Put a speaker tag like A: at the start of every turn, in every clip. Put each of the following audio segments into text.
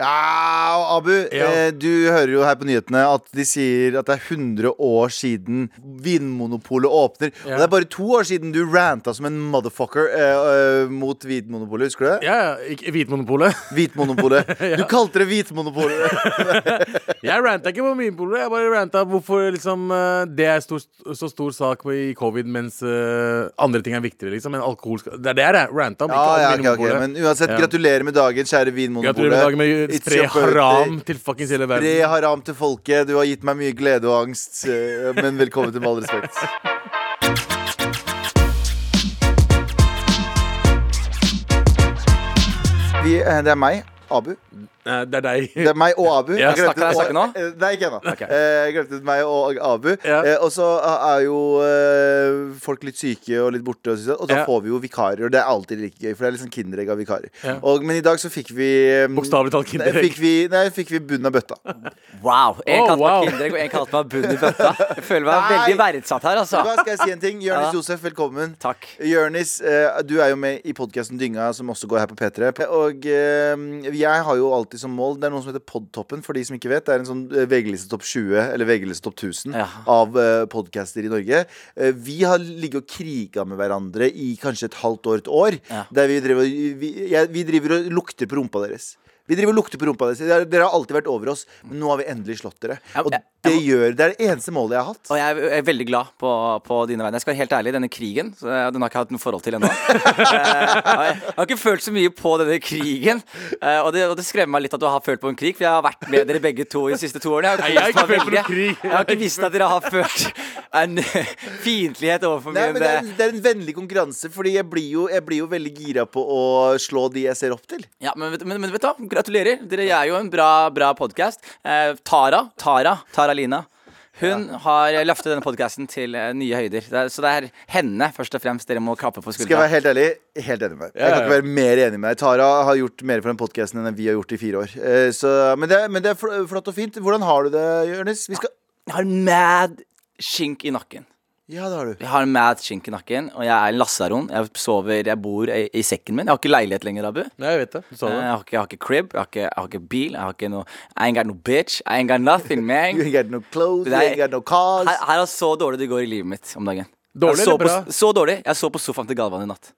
A: Ja, og Abu, eh, du hører jo her på nyhetene at de sier at det er 100 år siden Vinmonopolet åpner.
B: Ja.
A: Og det er bare to år siden du ranta som en motherfucker eh, eh, mot Vinmonopolet. Husker du det?
B: Ja, ja, ikke- Hvitmonopolet.
A: Hvitmonopolet. Du kalte det Hvitmonopolet.
B: Jeg ranta ikke på Vinmonopolet. Jeg bare ranta hvorfor liksom, eh, det er stor, så stor sak på- i covid, mens eh, andre ting er viktigere. Liksom, enn alkohol skal- Det er det jeg ranta om.
A: ja,
B: ikke om
A: ja, ok, ok,
B: Vinmonopolet.
A: Men uansett,
B: Ja.
A: gratulerer med dagen, kjære
B: Gratulerer med dagen
A: Vinmonopolet.
B: med
A: It's
B: spre
A: your birthday.
B: haram til fuckings hele
A: Spre
B: verden.
A: haram til folket. Du har gitt meg mye glede og angst, eh, men velkommen til Med all respekt. Vi, eh, det er meg, Abu.
B: Nei, Det er deg.
A: Det er meg og Abu.
B: Ja,
A: Jeg glemte-
B: snakker jeg-
A: og-
B: snakker nå?
A: eh, Nei, ikke ennå.
B: Ok.
A: Eh, Jeg glemte meg og Abu.
B: Ja.
A: Eh, Og så er jo eh, folk litt syke og litt borte, og, sånn, og da
B: Ja.
A: får vi jo vikarer. Og det er alltid like gøy, for det er litt sånn Kinderegg av vikarer.
B: Ja.
A: Og, men i dag så fikk vi eh,
B: Bokstavelig talt
A: Nei,
B: kinderegg.
A: fikk vi, nei, fikk vi bunnen av bøtta.
C: Wow. En
B: Oh,
C: kalte
B: wow.
C: meg Kinderegg, og en kalte meg Bunn i bøtta. Jeg føler meg
A: Nei.
C: veldig verdsatt her, altså.
A: Hva skal jeg si en ting? Jørnis
C: Ja.
A: Josef, velkommen.
C: Takk.
A: Jørnis, eh, du er jo med i podkasten Dynga, som også går her på P3. Og eh, jeg har jo alltid som mål Det er noe som heter Podtoppen, for de som ikke vet. Det er en sånn eh, VG-liste topp 20, eller VG-liste topp 1000,
C: Ja.
A: av eh, podcaster i Norge. Eh, vi har ligget og kriga med hverandre i kanskje et halvt år, et år.
C: Ja.
A: Der vi driver, og- vi, jeg, vi driver og lukter på rumpa deres. Vi driver og lukter på rumpa deres. Dere- Dere har alltid vært over oss, men nå har vi endelig slått dere.
C: Jeg-
A: Og
C: jeg-
A: det gjør Det er det eneste målet jeg har hatt.
C: Og jeg er- jeg er veldig glad på, på dine vegne. Jeg skal være helt ærlig, denne krigen så jeg- Den har jeg ikke hatt noe forhold til ennå. Eh, Jeg har ikke følt så mye på denne krigen. Eh, Og det, og det skremmer meg litt at du har følt på en krig, for jeg har vært med dere begge to i de siste to årene.
B: Nei, jeg har
C: kost
B: ikke
C: meg
B: følt på
C: veldig.
B: noen krig.
C: Jeg har ikke visst at dere har følt en fiendtlighet overfor eh,
A: Nei,
C: meg.
A: men det
B: eh,
A: er, det er en vennlig konkurranse, Fordi jeg blir, jo, jeg blir jo veldig gira på å slå de jeg ser opp til.
C: Ja, men, vet- men, men vet du hva? Gratulerer. Dere er jo en bra, bra podkast. Eh, Tara, Tara, Tara Lina. Hun har løftet denne podkasten til eh, nye høyder. Det er, så det er henne først og fremst dere må klappe på
A: Skal jeg være
C: skuldra.
A: helt ærlig? Helt enig med deg. Jeg
B: Ja,
A: kan
B: ja.
A: ikke være mer enig med deg. Tara har gjort mer for den podkasten enn vi har gjort i fire år. Eh, Så, men, det, er- men det er fl- flott og fint. Hvordan har du det, Jonis? Vi skal
C: Jeg har en mad skink i nakken.
A: Ja, det har du.
C: Jeg har en mad skink i nakken, og jeg er en lasaron. Jeg sover, jeg bor i, i sekken min. Jeg har ikke leilighet lenger, Abu.
B: Nei, jeg vet det. Du sa
C: Eh, Jeg
B: det.
C: har ikke, jeg har ikke crib, jeg har ikke, jeg har ikke bil, jeg har ikke noe I ain't got no bitch, I ain't got nothing,
A: You
C: man.
A: ain't got no clothes, you
C: Nei.
A: ain't got no cars.
B: ah.
C: Her, her er så dårlig det går i livet mitt om dagen.
B: Altså- Dårlig
C: Jeg så
B: eller bra?
C: På, så dårlig. Jeg så på sofaen til Galvan i natt.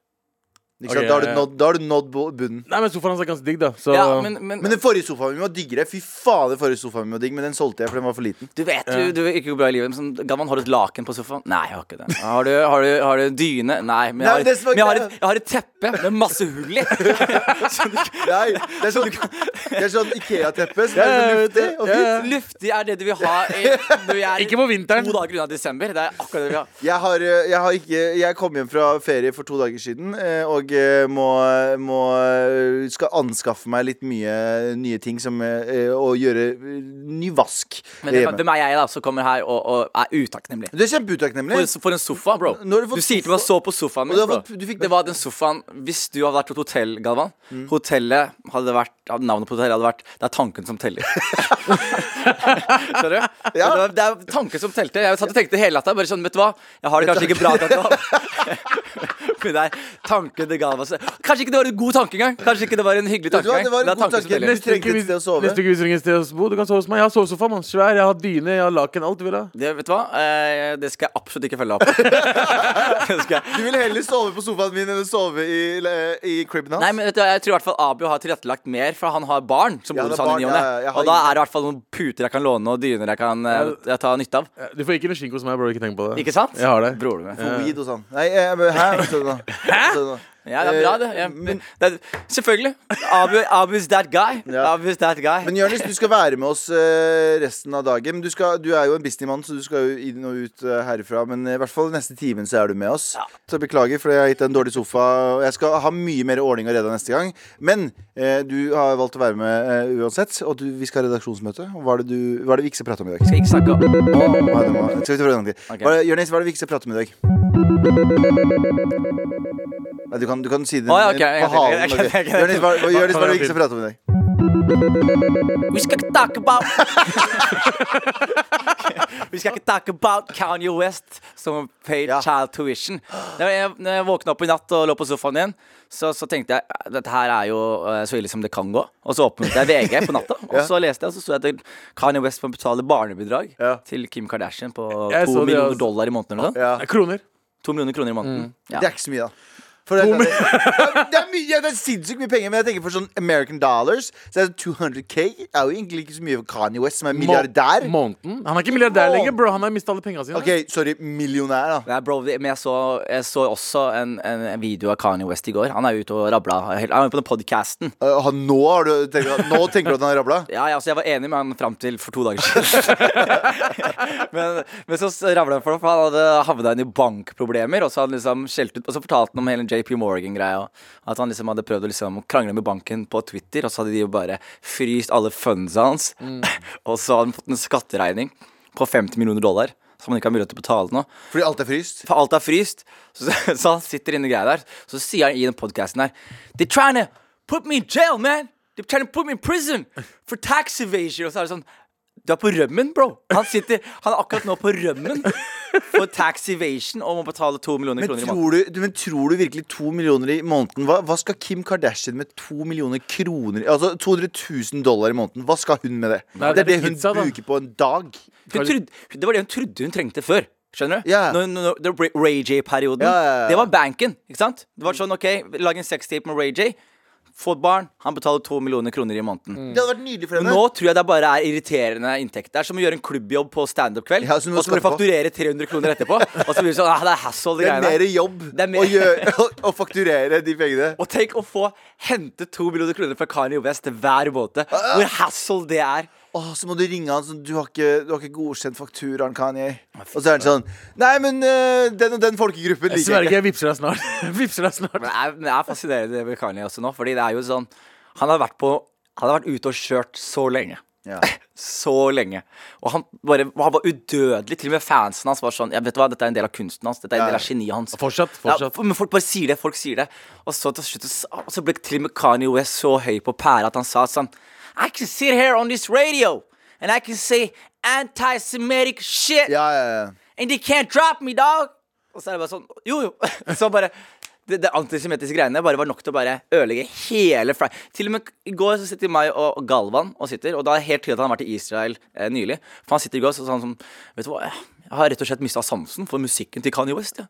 A: Ikke sant?
B: Ok,
A: Da har du
B: ja, ja.
A: nådd, da har du nådd bo- bunnen.
B: Nei, men sofaen hans er ganske digg, da. Så
C: Ja, men, men,
A: Men den forrige sofaen min var diggere. Fy faen, den forrige sofaen min var digg, men den solgte jeg, for den var for liten.
C: du vet jo du, vet ikke hvor bra i livet men sånn, Galvan, har du et laken på sofaen? Nei, jeg har ikke det. Har du, har du, har du dyne? Nei.
A: Nei,
C: Men,
A: men det
C: jeg,
A: som
C: har,
A: er
C: men jeg, har
A: greia-
C: et, jeg har et teppe med masse hull i. Så du-
A: Nei, det er sånn, det er sånn Ikea-teppe som er så
B: Ja, jeg vet
A: luftig
B: det.
A: og
B: Ja,
A: fint.
B: ja.
C: Luftig er det du vil ha i, når vi er
B: Ikke på vinteren.
C: to dager unna desember. Det er akkurat det vi har.
A: Jeg har, eh, jeg har ikke Jeg kom hjem fra ferie for to dager siden eh, og eh, må, må eh, skal anskaffe meg litt mye nye ting som eh, Å gjøre eh, ny vask
C: Men det,
A: hjemme.
C: hvem er jeg, da, som kommer her og, og er utakknemlig?
A: Du er kjempeutakknemlig.
C: For, for en sofa, bro.
A: Nå har du fått
C: Du sier til meg
A: sofa.
C: så på sofaen
A: Og
C: min.
A: du har
C: bro.
A: fått- du fikk-
C: Det var den sofaen Hvis du hadde vært på et hotell, Galvan
A: Mm.
C: Hotellet hadde vært hadde Navnet på hotellet hadde vært Det er tanken som teller. Skjønner du?
A: Ja.
C: Det, var, det er tanken som telte. Jeg satt og tenkte hele natta. Bare sånn, vet du hva? Jeg har det kanskje ikke bra akkurat nå. Men det er tanken til Galvan så- Kanskje ikke det var en god tanke engang. Kanskje ikke det var en hyggelig
A: Vet du
C: tanke.
A: hva?
C: engang.
A: Det var en god
C: Det er tanken som
A: tanke.
C: teller.
A: Neste- Du trengte et
B: hvis-
A: sted å sove.
B: neste uke hvis du trenger et sted å bo, du kan sove hos meg. Jeg har sovesofa, mann. Svær. Jeg har dyne, jeg har laken, alt du vil ha.
C: Det, vet du hva? Eh, det skal jeg absolutt ikke følge opp. det skal jeg
A: Du vil heller sove på sofaen min enn å sove i, eh, i cribben hans.
C: Nei, men vet du, hva, Jeg tror i hvert fall Abu har tilrettelagt mer, for han har barn. som
A: Ja,
C: bor hos
A: det er barn,
C: han i ny og ne.
A: ja, ja, jeg har
C: Og da
A: ingen-
C: er det i hvert fall noen puter jeg kan låne, og dyner jeg kan eh, jeg ta nytte av.
B: Eh, Du får ikke noe skink hos meg, bro. Ikke tenk på det.
C: Ikke sant?
B: Jeg har det.
C: Broren min.
A: For weed og sånn. Nei, eh, men hæ? Så da- så da-
C: Ja, det er bra, det.
A: Eh,
C: Jeg,
A: men-
C: det er, selvfølgelig. Abu, Abu's that guy.
A: Ja.
C: Abu's that guy.
A: Men Jonis, du skal være med oss eh, resten av dagen. Men Du, skal, du er jo en businessmann, så du skal jo inn og ut eh, herfra. Men i hvert fall neste timen så er du med oss. Så beklager, for jeg har gitt deg en dårlig sofa. Og jeg skal ha mye mer ordning og reda neste gang. Men eh, du har valgt å være med eh, uansett, og du, vi skal ha redaksjonsmøte. Og hva er, det du, hva er det vi ikke skal prate om i dag?
C: Skal ikke snakke om
A: Hva er det, hva- skal vi ta fra en gang til?
C: Ok.
A: Hva er det- Jonis, hva er det vi ikke skal prate om i dag? Nei, du, kan, du kan si det
C: Å, ja, ok, jeg
A: på
C: kan- jeg
A: halen.
C: kan- jeg kan-
A: Jonis, hva, hva, Jonis, hva er det vi ikke skal prate om i dag?
C: We skal ikke talk about Vi skal ikke talk about Kanye West som paid
A: Ja.
C: child tuition. Når jeg, når jeg våkna opp i natt og lå på sofaen igjen, så, så tenkte jeg dette her er jo eh, så ille som det kan gå. Og så åpnet jeg VG på natta, og så leste jeg, og så sto jeg at Kanye West må betale barnebidrag
A: Ja.
C: til Kim Kardashian på
B: Jeg så
C: to
B: det,
C: millioner
B: altså.
C: dollar i måneden. Eller noe sånt.
A: Ja. Mm.
B: Nei, Kroner.
C: To millioner kroner i måneden.
A: Det
C: Ja.
A: er ikke så mye, da. For det, det, det, det er mye, ja, det er sinnssykt mye penger, men jeg tenker for sånn American dollars Så er det 200K er jo egentlig ikke så mye for Kanye West, som er milliardær.
B: Må- Måneden. Han er ikke milliardær
A: Måneden.
B: lenger, bro. Han har mista alle pengene sine.
A: Ok, sorry, millionær, da.
C: Nei, bro, det- men jeg så, jeg så også en, en, en video av Kanye West i går. Han er jo ute og rabla. helt- Han er jo på den podcasten
A: Eh, Han, nå, har du, tenker, nå tenker du at han har rabla?
C: Ja, ja, altså jeg var enig med han fram til for to dager siden. men, men så ravla han for det, for han hadde havna inn i bankproblemer. Og så hadde han liksom skjelt ut Og så fortalte han om hele JP Morgan-greia. og At han liksom hadde prøvd å liksom krangle med banken på Twitter, og så hadde de jo bare fryst alle fundsa hans. og så hadde han fått en skatteregning på 50 millioner dollar. Som han ikke har mulighet til å betale nå.
A: Fordi alt er fryst?
C: For alt er fryst. Så, så han sitter inne i greia der. Så sier han i den podcasten her They're trying to put me in jail, man! They're trying to put me in prison for tax evasion! Og så er det sånn Du er på rømmen, bro! Han sitter Han er akkurat nå på rømmen for tax evasion og må betale to millioner
A: Men
C: kroner i måneden.
A: tror, du, du, men tror du virkelig to millioner i måneden hva, hva skal Kim Kardashian med to millioner kroner Altså 200 000 dollar i måneden? Hva skal hun med det?
B: Nei,
A: det er det
B: det er
A: hun
B: pizza, da.
A: bruker på en dag.
C: Hun trodde, det var det hun trodde hun trengte før. Skjønner du?
A: Ja.
C: Når, når, når Ra- Ray J-perioden.
A: Ja, ja, ja.
C: Det var banken. ikke sant? Det var sånn, ok, Lag en sextape med Ray J. Få et barn. Han betaler to millioner kroner i måneden.
A: Det hadde vært nydelig for
C: Men
A: henne.
C: nå tror jeg det bare er irriterende inntekt. Det er som å gjøre en klubbjobb på standup-kveld,
A: Ja,
C: og
A: så
C: så
A: må du
C: må du
A: skatte på.
C: fakturere 300 kroner etterpå. Og så blir det sånn ah, Det er hassle, de
A: det er
C: greiene
A: mer
C: der.
A: jobb
C: Det er mer-
A: å, gjøre, å, å fakturere de pengene.
C: Og tenk å få hente to millioner kroner fra Kanye West hver måned.
A: Ah,
C: Hvor hassle det er.
A: Åh, så må du ringe han sånn Du har ikke, du har ikke godkjent fakturaen, Kanye. Og så er han sånn Nei, men øh, den og den folkegruppen
B: Jeg
A: liker jeg
B: sverger,
A: ikke.
B: jeg vipser deg snart. vipser deg snart.
C: Men det er, men det er fascinerende det med Kanye også nå, fordi det er jo sånn Han har vært på Han har vært ute og kjørt så lenge.
A: Ja.
C: Så lenge. Og han, bare, han var udødelig. Til og med fansen hans var sånn ja, Vet du hva, dette er en del av kunsten hans. Dette er en del av geniet hans.
B: Fortsatt.
C: Ja,
B: fortsatt
C: for- men folk bare sier det. folk sier det Og så til slutt så- og så ble til og med Kanye West så høy på pæra at han sa sånn I can sit here on this radio and I can say anti-Semitic shit
A: Ja, ja, ja.
C: and they can't drop me, dog. Og så er det bare sånn Jo, jo. Så bare det, det antisemittiske greiene bare var nok til å bare ødelegge hele Fri... Til og med i går så sitter meg og og Galvan og sitter, og da er det helt tydelig at han har vært i Israel eh, nylig. For han sitter i går så sa han sånn Vet du hva, jeg har rett og slett mista sansen for musikken til Kanye West, ja.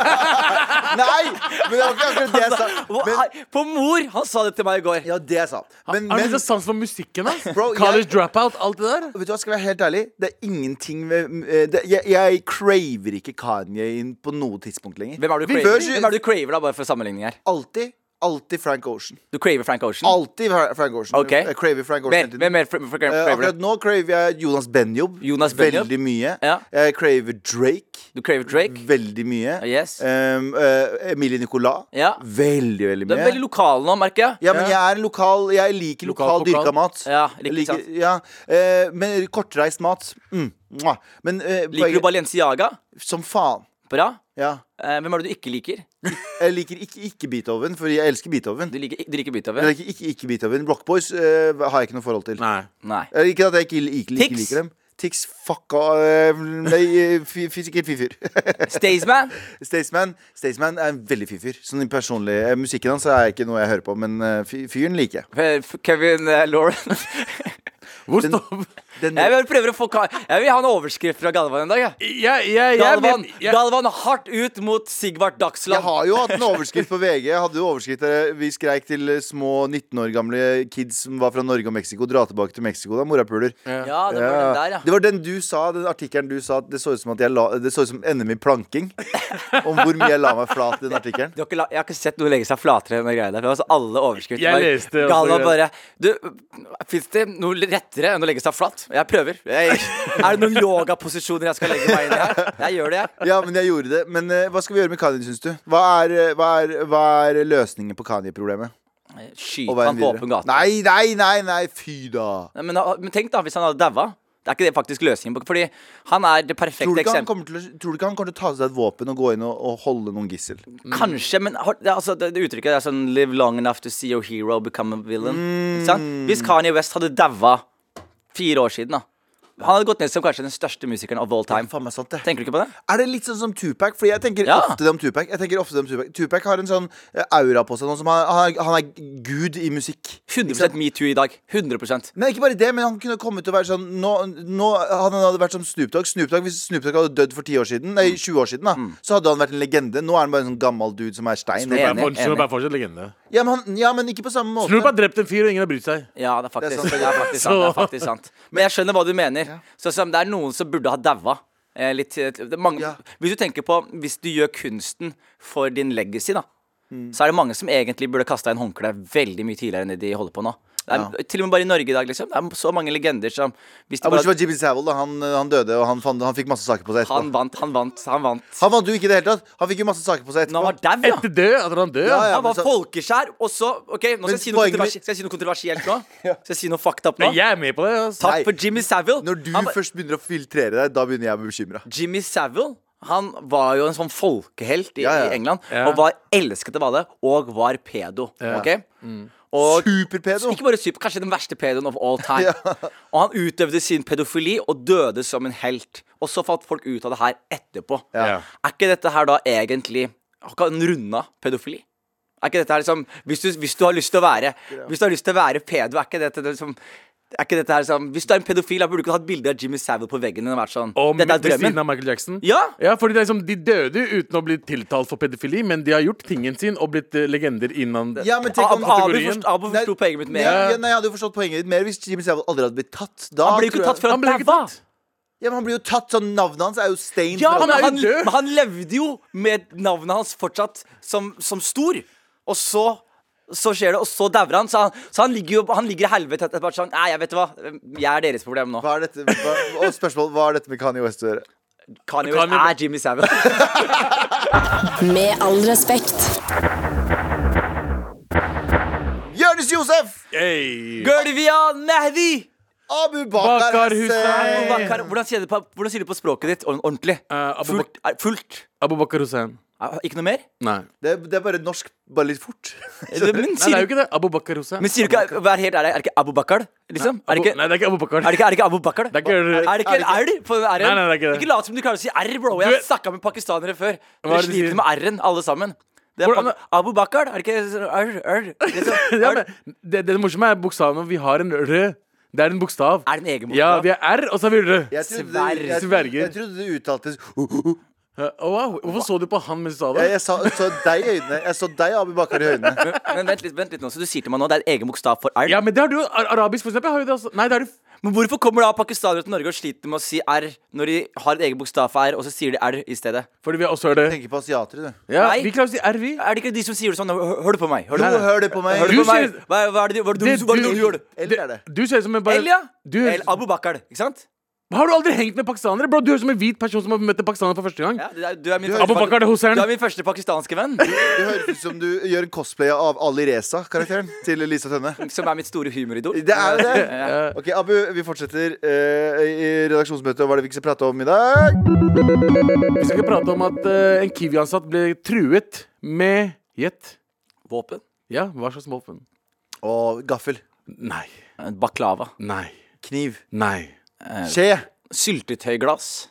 A: Nei! Men det var ikke akkurat det jeg sa.
C: Hva-
A: Men,
C: hei, på mor! Han sa det til meg i går.
A: ja, det jeg sa. Men,
B: Har
A: men
B: du litt sans for musikken, da?
A: Bro,
B: College
A: jeg-
B: dropout, alt det der?
A: vet du hva, skal jeg være helt ærlig, det er ingenting ved eh, det, jeg, jeg craver ikke Kanye inn på noe tidspunkt lenger.
C: Hvem er, du
A: Vi
C: craver?
A: bør-
C: Hvem er det du craver, da, bare for sammenligning her?
A: Alltid. Alltid Frank Ocean.
C: Du craver Frank Ocean?
A: Alltid Fra- Frank Ocean.
C: Ok.
A: Jeg craver Frank Ocean
C: Mer,
A: hele tiden.
C: hvem mer fra- fra-
A: Eh,
C: craver
A: akkurat
C: du?
A: nå craver jeg Jonas Benjob
C: Jonas Benjob.
A: veldig mye.
C: Ja.
A: Jeg craver Drake.
C: Du craver Drake?
A: Veldig mye.
C: Ah, Yes.
A: Um, eh, Emilie Nicolas.
C: Ja.
A: Veldig, veldig
C: Du
A: mye.
C: er veldig lokal nå, merker jeg.
A: ja, men jeg er en lokal Jeg liker lokal,
B: Lokal pokal.
A: dyrka mat.
C: Ja,
A: Jeg
C: riktig sant.
A: ja. eh, men kortreist mat. Mm. Mwah. Men eh,
C: Liker du
A: poenget-
C: Balenciaga?
A: Som faen.
C: Bra.
A: Ja.
C: Eh, hvem er det du ikke liker?
A: Jeg liker ikke ikke Beethoven, for jeg elsker Beethoven.
C: Du liker, du liker
A: Jeg
C: Beethoven?
A: liker ikke ikke Beethoven. Block Boys eh, har jeg ikke noe forhold til.
B: Nei.
C: Nei.
A: Eh, Ikke at jeg ikke, ikke,
C: Tix?
A: ikke liker dem. Tix fucka eh, Nei, eh, fy- fy- sikkert fyr
C: Staysman?
A: Staysman Staysman er en veldig fyr. Sånn i personlig eh, Musikken hans er ikke noe jeg hører på, men eh, fy- fyren liker jeg.
C: Eh, f- Kevin eh, Lauren?
B: Hvor
A: Den-
B: står
A: Den,
C: Jeg vil prøve å få ka- Jeg vil ha en overskrift fra Galvan en dag.
B: Jeg,
C: jeg.
B: jeg, jeg,
C: Galvan,
B: jeg, jeg,
C: Galvan hardt ut mot
A: jeg
C: Sigvart Dagsland.
A: har jo hatt en overskrift på VG. Jeg hadde jo overskrift der vi skreik til eh, små 19 år gamle kids som var fra Norge og Mexico. Dra tilbake til Mexico, da, morapuler.
C: Ja, det var den der, ja.
A: Det var den du sa, den artikkelen du sa at det så ut som at jeg la Det så ut som NM i planking. Om hvor mye jeg la meg flat i den artikkelen.
C: Du har ikke la, jeg har ikke sett noe legge seg flatere enn den greia der. for Det var altså alle overskrifter.
B: Jeg leste også
C: Gala
B: det.
C: bare Du, fins det noe rettere enn å legge seg flat? Jeg prøver. Jeg, er det noen yogaposisjoner jeg skal legge meg inn i her? Jeg gjør det, jeg.
A: Ja, men jeg gjorde det. Men eh, hva skal vi gjøre med Kanye, syns du? Hva er, eh, hva er, hva er løsningen på Kanye-problemet?
C: Skyt
A: Og veien
C: han på
A: videre.
C: åpen gate.
A: Nei, nei, nei, nei, fy da.
C: Nei, Men, men tenk, da, hvis han hadde daua. Det er ikke det faktisk løsningen på Fordi han er det perfekte
A: Tror du, ikke han
C: eksempelet.
A: kommer til, å- tror du ikke han kommer til å ta seg et våpen og gå inn og, og holde noen gissel?
C: Kanskje, men har- det, er altså, det, det uttrykket er sånn Live long enough to see your hero become a villain. Ikke sant?
A: Mm.
C: Hvis Kanye West hadde daua fire år siden, da Han hadde gått ned som kanskje den største musikeren of all time.
A: Faen meg sant, det.
C: Tenker du ikke på det?
A: Er det litt sånn som Tupac? Fordi jeg tenker
C: Ja.
A: ofte det om Tupac. Jeg tenker ofte det om Tupac Tupac har en sånn eh, aura på seg nå som han, han, er, han er gud i musikk.
C: 100 metoo i dag. 100
A: Men ikke bare det, men han kunne kommet til å være sånn Nå, nå han hadde vært som Snoop Dogg. Snoop Dogg. Hvis Snoop Dogg hadde dødd for 10 år siden, nei,
C: Mm.
A: 20 år siden, da, så hadde han vært en legende. Nå er han bare en sånn gammel dude som er stein.
C: Snoop
B: Snoop er
C: Enig,
B: for-
C: enig.
B: Snoop er fortsatt legende.
A: Ja, men, han, ja, men ikke på samme måte.
B: Snoop har drept en fyr, og ingen har brydd seg.
C: Ja, det er faktisk,
A: Det er sant.
C: det er faktisk sant. Det er faktisk sant. Men jeg skjønner hva du mener. Så som det er noen som burde ha daua. Eh, litt, det er mange,
A: Ja.
C: Hvis du tenker på Hvis du gjør kunsten for din legacy, da,
A: Mm.
C: så er det mange som egentlig burde kasta inn håndkleet veldig mye tidligere enn det de holder på nå. Det er, Til og med bare i Norge i dag, liksom. Det er så mange legender som hvis de
A: Ja, Bortsett fra
C: bare,
A: Jimmy Savile, da. Han, han døde, og han, fant, han fikk masse saker på seg etterpå.
C: Han vant, han vant, han vant.
A: Han, vant jo ikke i det hele tatt. Han fikk jo masse saker på seg
C: Når han
A: etterpå.
C: var dau, ja.
B: Etter død, at han død.
A: Ja, ja. men
C: Han var
A: så-
C: folkeskjær, og så OK, nå skal
A: Men
C: jeg si noe
A: poenget mitt-
C: kontroversielt, skal jeg si noe, kontroversielt nå. Skal jeg si noe fucked up nå?
B: Jeg er med på det. ass.
C: Takk
A: Nei.
C: for Jimmy Savile.
A: Når du
C: Han var-
A: først begynner å filtrere deg, da begynner jeg å bli bekymra.
C: Jimmy Savile han var jo en sånn folkehelt i,
A: Ja, ja.
C: i England.
B: Ja.
C: Og var elsket av alle, og var pedo.
B: Ja.
C: ok?
A: Mm.
C: Og
A: Superpedo!
C: ikke bare super, kanskje den verste pedoen of all time. Og han utøvde sin pedofili og døde som en helt. Og så falt folk ut av det her etterpå.
B: Ja.
C: Er ikke dette her da egentlig Har ikke han runda pedofili? Er ikke dette her liksom Hvis du, hvis du har lyst til å være Hvis du har lyst til å være pedo, er ikke dette det liksom er ikke dette her liksom, Hvis du er en pedofil, da burde du ikke hatt bilde av Jimmy Savile på veggen din og vært sånn
B: Og
C: Dette er
B: ved
C: drømmen.
B: siden av Michael Jackson.
C: Ja!
B: Ja, fordi det er liksom, De døde jo uten å bli tiltalt for pedofili, men de har gjort tingen sin og blitt eh, legender innan
A: Ja, men tenk om
C: Ab- Abu
B: kategorien.
C: forst- Abu forsto poenget mitt
A: Nei,
C: mer.
A: ja, nei, jeg hadde jo forstått poenget ditt mer hvis Jimmy Savile aldri hadde blitt tatt. Da
C: Han ble jo ikke
A: tror jeg-
C: tatt før
B: Han
C: han
B: ble ikke
C: daua.
B: tatt.
A: Ja, men han blir jo tatt, så navnet hans er jo stained.
C: Ja,
A: for
C: men
A: alltid.
B: jo
C: han,
B: død.
C: men han levde jo med navnet hans fortsatt som, som stor. Og så så skjer det, og så dauer han. Så han, så han ligger jo han ligger i helvete etter hvert. Sånn, Nei, jeg vet hva, jeg er deres problem nå.
A: Hva er dette, hva, og spørsmål, hva er dette med Kanye West å gjøre?
C: Kanye West
B: Kanye-
C: er Jimmy Savile.
D: Med all respekt.
A: Jonis Josef!
B: Hey.
C: Gulvian Mehdi!
A: Abu Bakar
B: Bakar
C: Abu
A: Hussein!
B: Hussein.
C: Bakar, Hvordan sier du det på, hvordan sier du på språket ditt Ord- ordentlig?
B: Eh, Abu
C: fullt, er- fullt.
B: Abu Bakar Hussein.
C: Er- Ikke noe mer?
B: Nei.
A: Det, er- det er bare norsk, bare litt fort.
C: Men
B: Nei, det er
C: sier,
B: jo ikke det. Abu Bakar Hussein.
C: men sier du ikke Vær helt ærlig, er det ikke Abu Bakar? Liksom? Er
B: Abu,
C: det ikke
B: Nei, det er ikke Abu Bakar.
C: Er det ikke, er det ikke Abu Bakar?
B: Det er ikke-
C: Er det ikke en R på den R-en?
B: Nei, nei, det er ikke det.
C: Ikke lat som du klarer å si R, bro.
B: Du
C: Jeg har
B: vet-
C: snakka med pakistanere før.
B: Hva er
C: Dere
B: det du
C: sliter
B: sier?
C: med R-en, alle sammen. Det er
B: Hvordan-
C: pak- Abu Bakar, er det ikke sånn R, R? Det er sånn
B: ja,
C: R.
B: men, det, det morsomme er bokstaven. Vi har en rød. Det er en bokstav.
C: Er det en egen bokstav?
B: Ja, vi har R, og så har vi rød.
A: Jeg trodde,
C: Sverger.
A: jeg, jeg,
B: Sverger.
A: trodde det uttaltes
B: Eh, oh, wow. Hvorfor så du på han mens du sa det?
A: jeg, jeg sa, så deg i øynene. Jeg så deg, Abu Bakar, i øynene.
C: Men vent litt, vent litt nå. Så du sier til meg nå det er en egen bokstav for R?
B: Ja, men det har du jo. Ar- Arabisk, for eksempel. Har jo det også. Nei, det har du.
C: Men hvorfor kommer da pakistanere til Norge og sliter med å si R når de har en egen bokstav for R, og så sier de R i stedet?
B: Fordi vi også har det.
A: Tenker på asiatere, du.
B: Ja,
C: Nei.
B: vi klarer å si R, vi.
C: Er det ikke de som sier det sånn Hør, hør du på meg? Hør du,
A: Jo,
B: Nei, nei.
A: hør det på meg.
C: hør du
B: Du
C: på meg?
B: sier-
C: Hva, hva er det du, hva er det du, hva er det du gjør? du?
A: Eller er det?
B: Du ser ut som en bare
C: Eller ja?
B: du høres-
C: Eller Abu Bakar, ikke sant?
B: Har du aldri hengt med pakistanere? Bro, du høres ut som en hvit person som har møtt en pakistaner for første gang.
C: Ja, du, er- du er min
B: Abu
C: første-
B: Bakar Hussein.
C: Du er min første pakistanske venn.
A: Det høres ut som du gjør en cosplay av Ali Reza-karakteren til Lisa Tønne.
C: Som er mitt store humoridol.
A: Det er jo det.
C: Ja.
B: Eh,
A: Ok, Abu, vi fortsetter eh, i redaksjonsmøtet. Hva er det vi ikke skal prate om i dag?
B: Vi skal ikke prate om at eh, en Kiwi-ansatt ble truet med Gjett.
C: Våpen.
B: Ja, hva slags våpen?
A: Og gaffel.
B: Nei.
C: En Eh, Baklava.
B: Nei.
A: Kniv.
B: Nei.
A: Skje.
C: Syltetøyglass.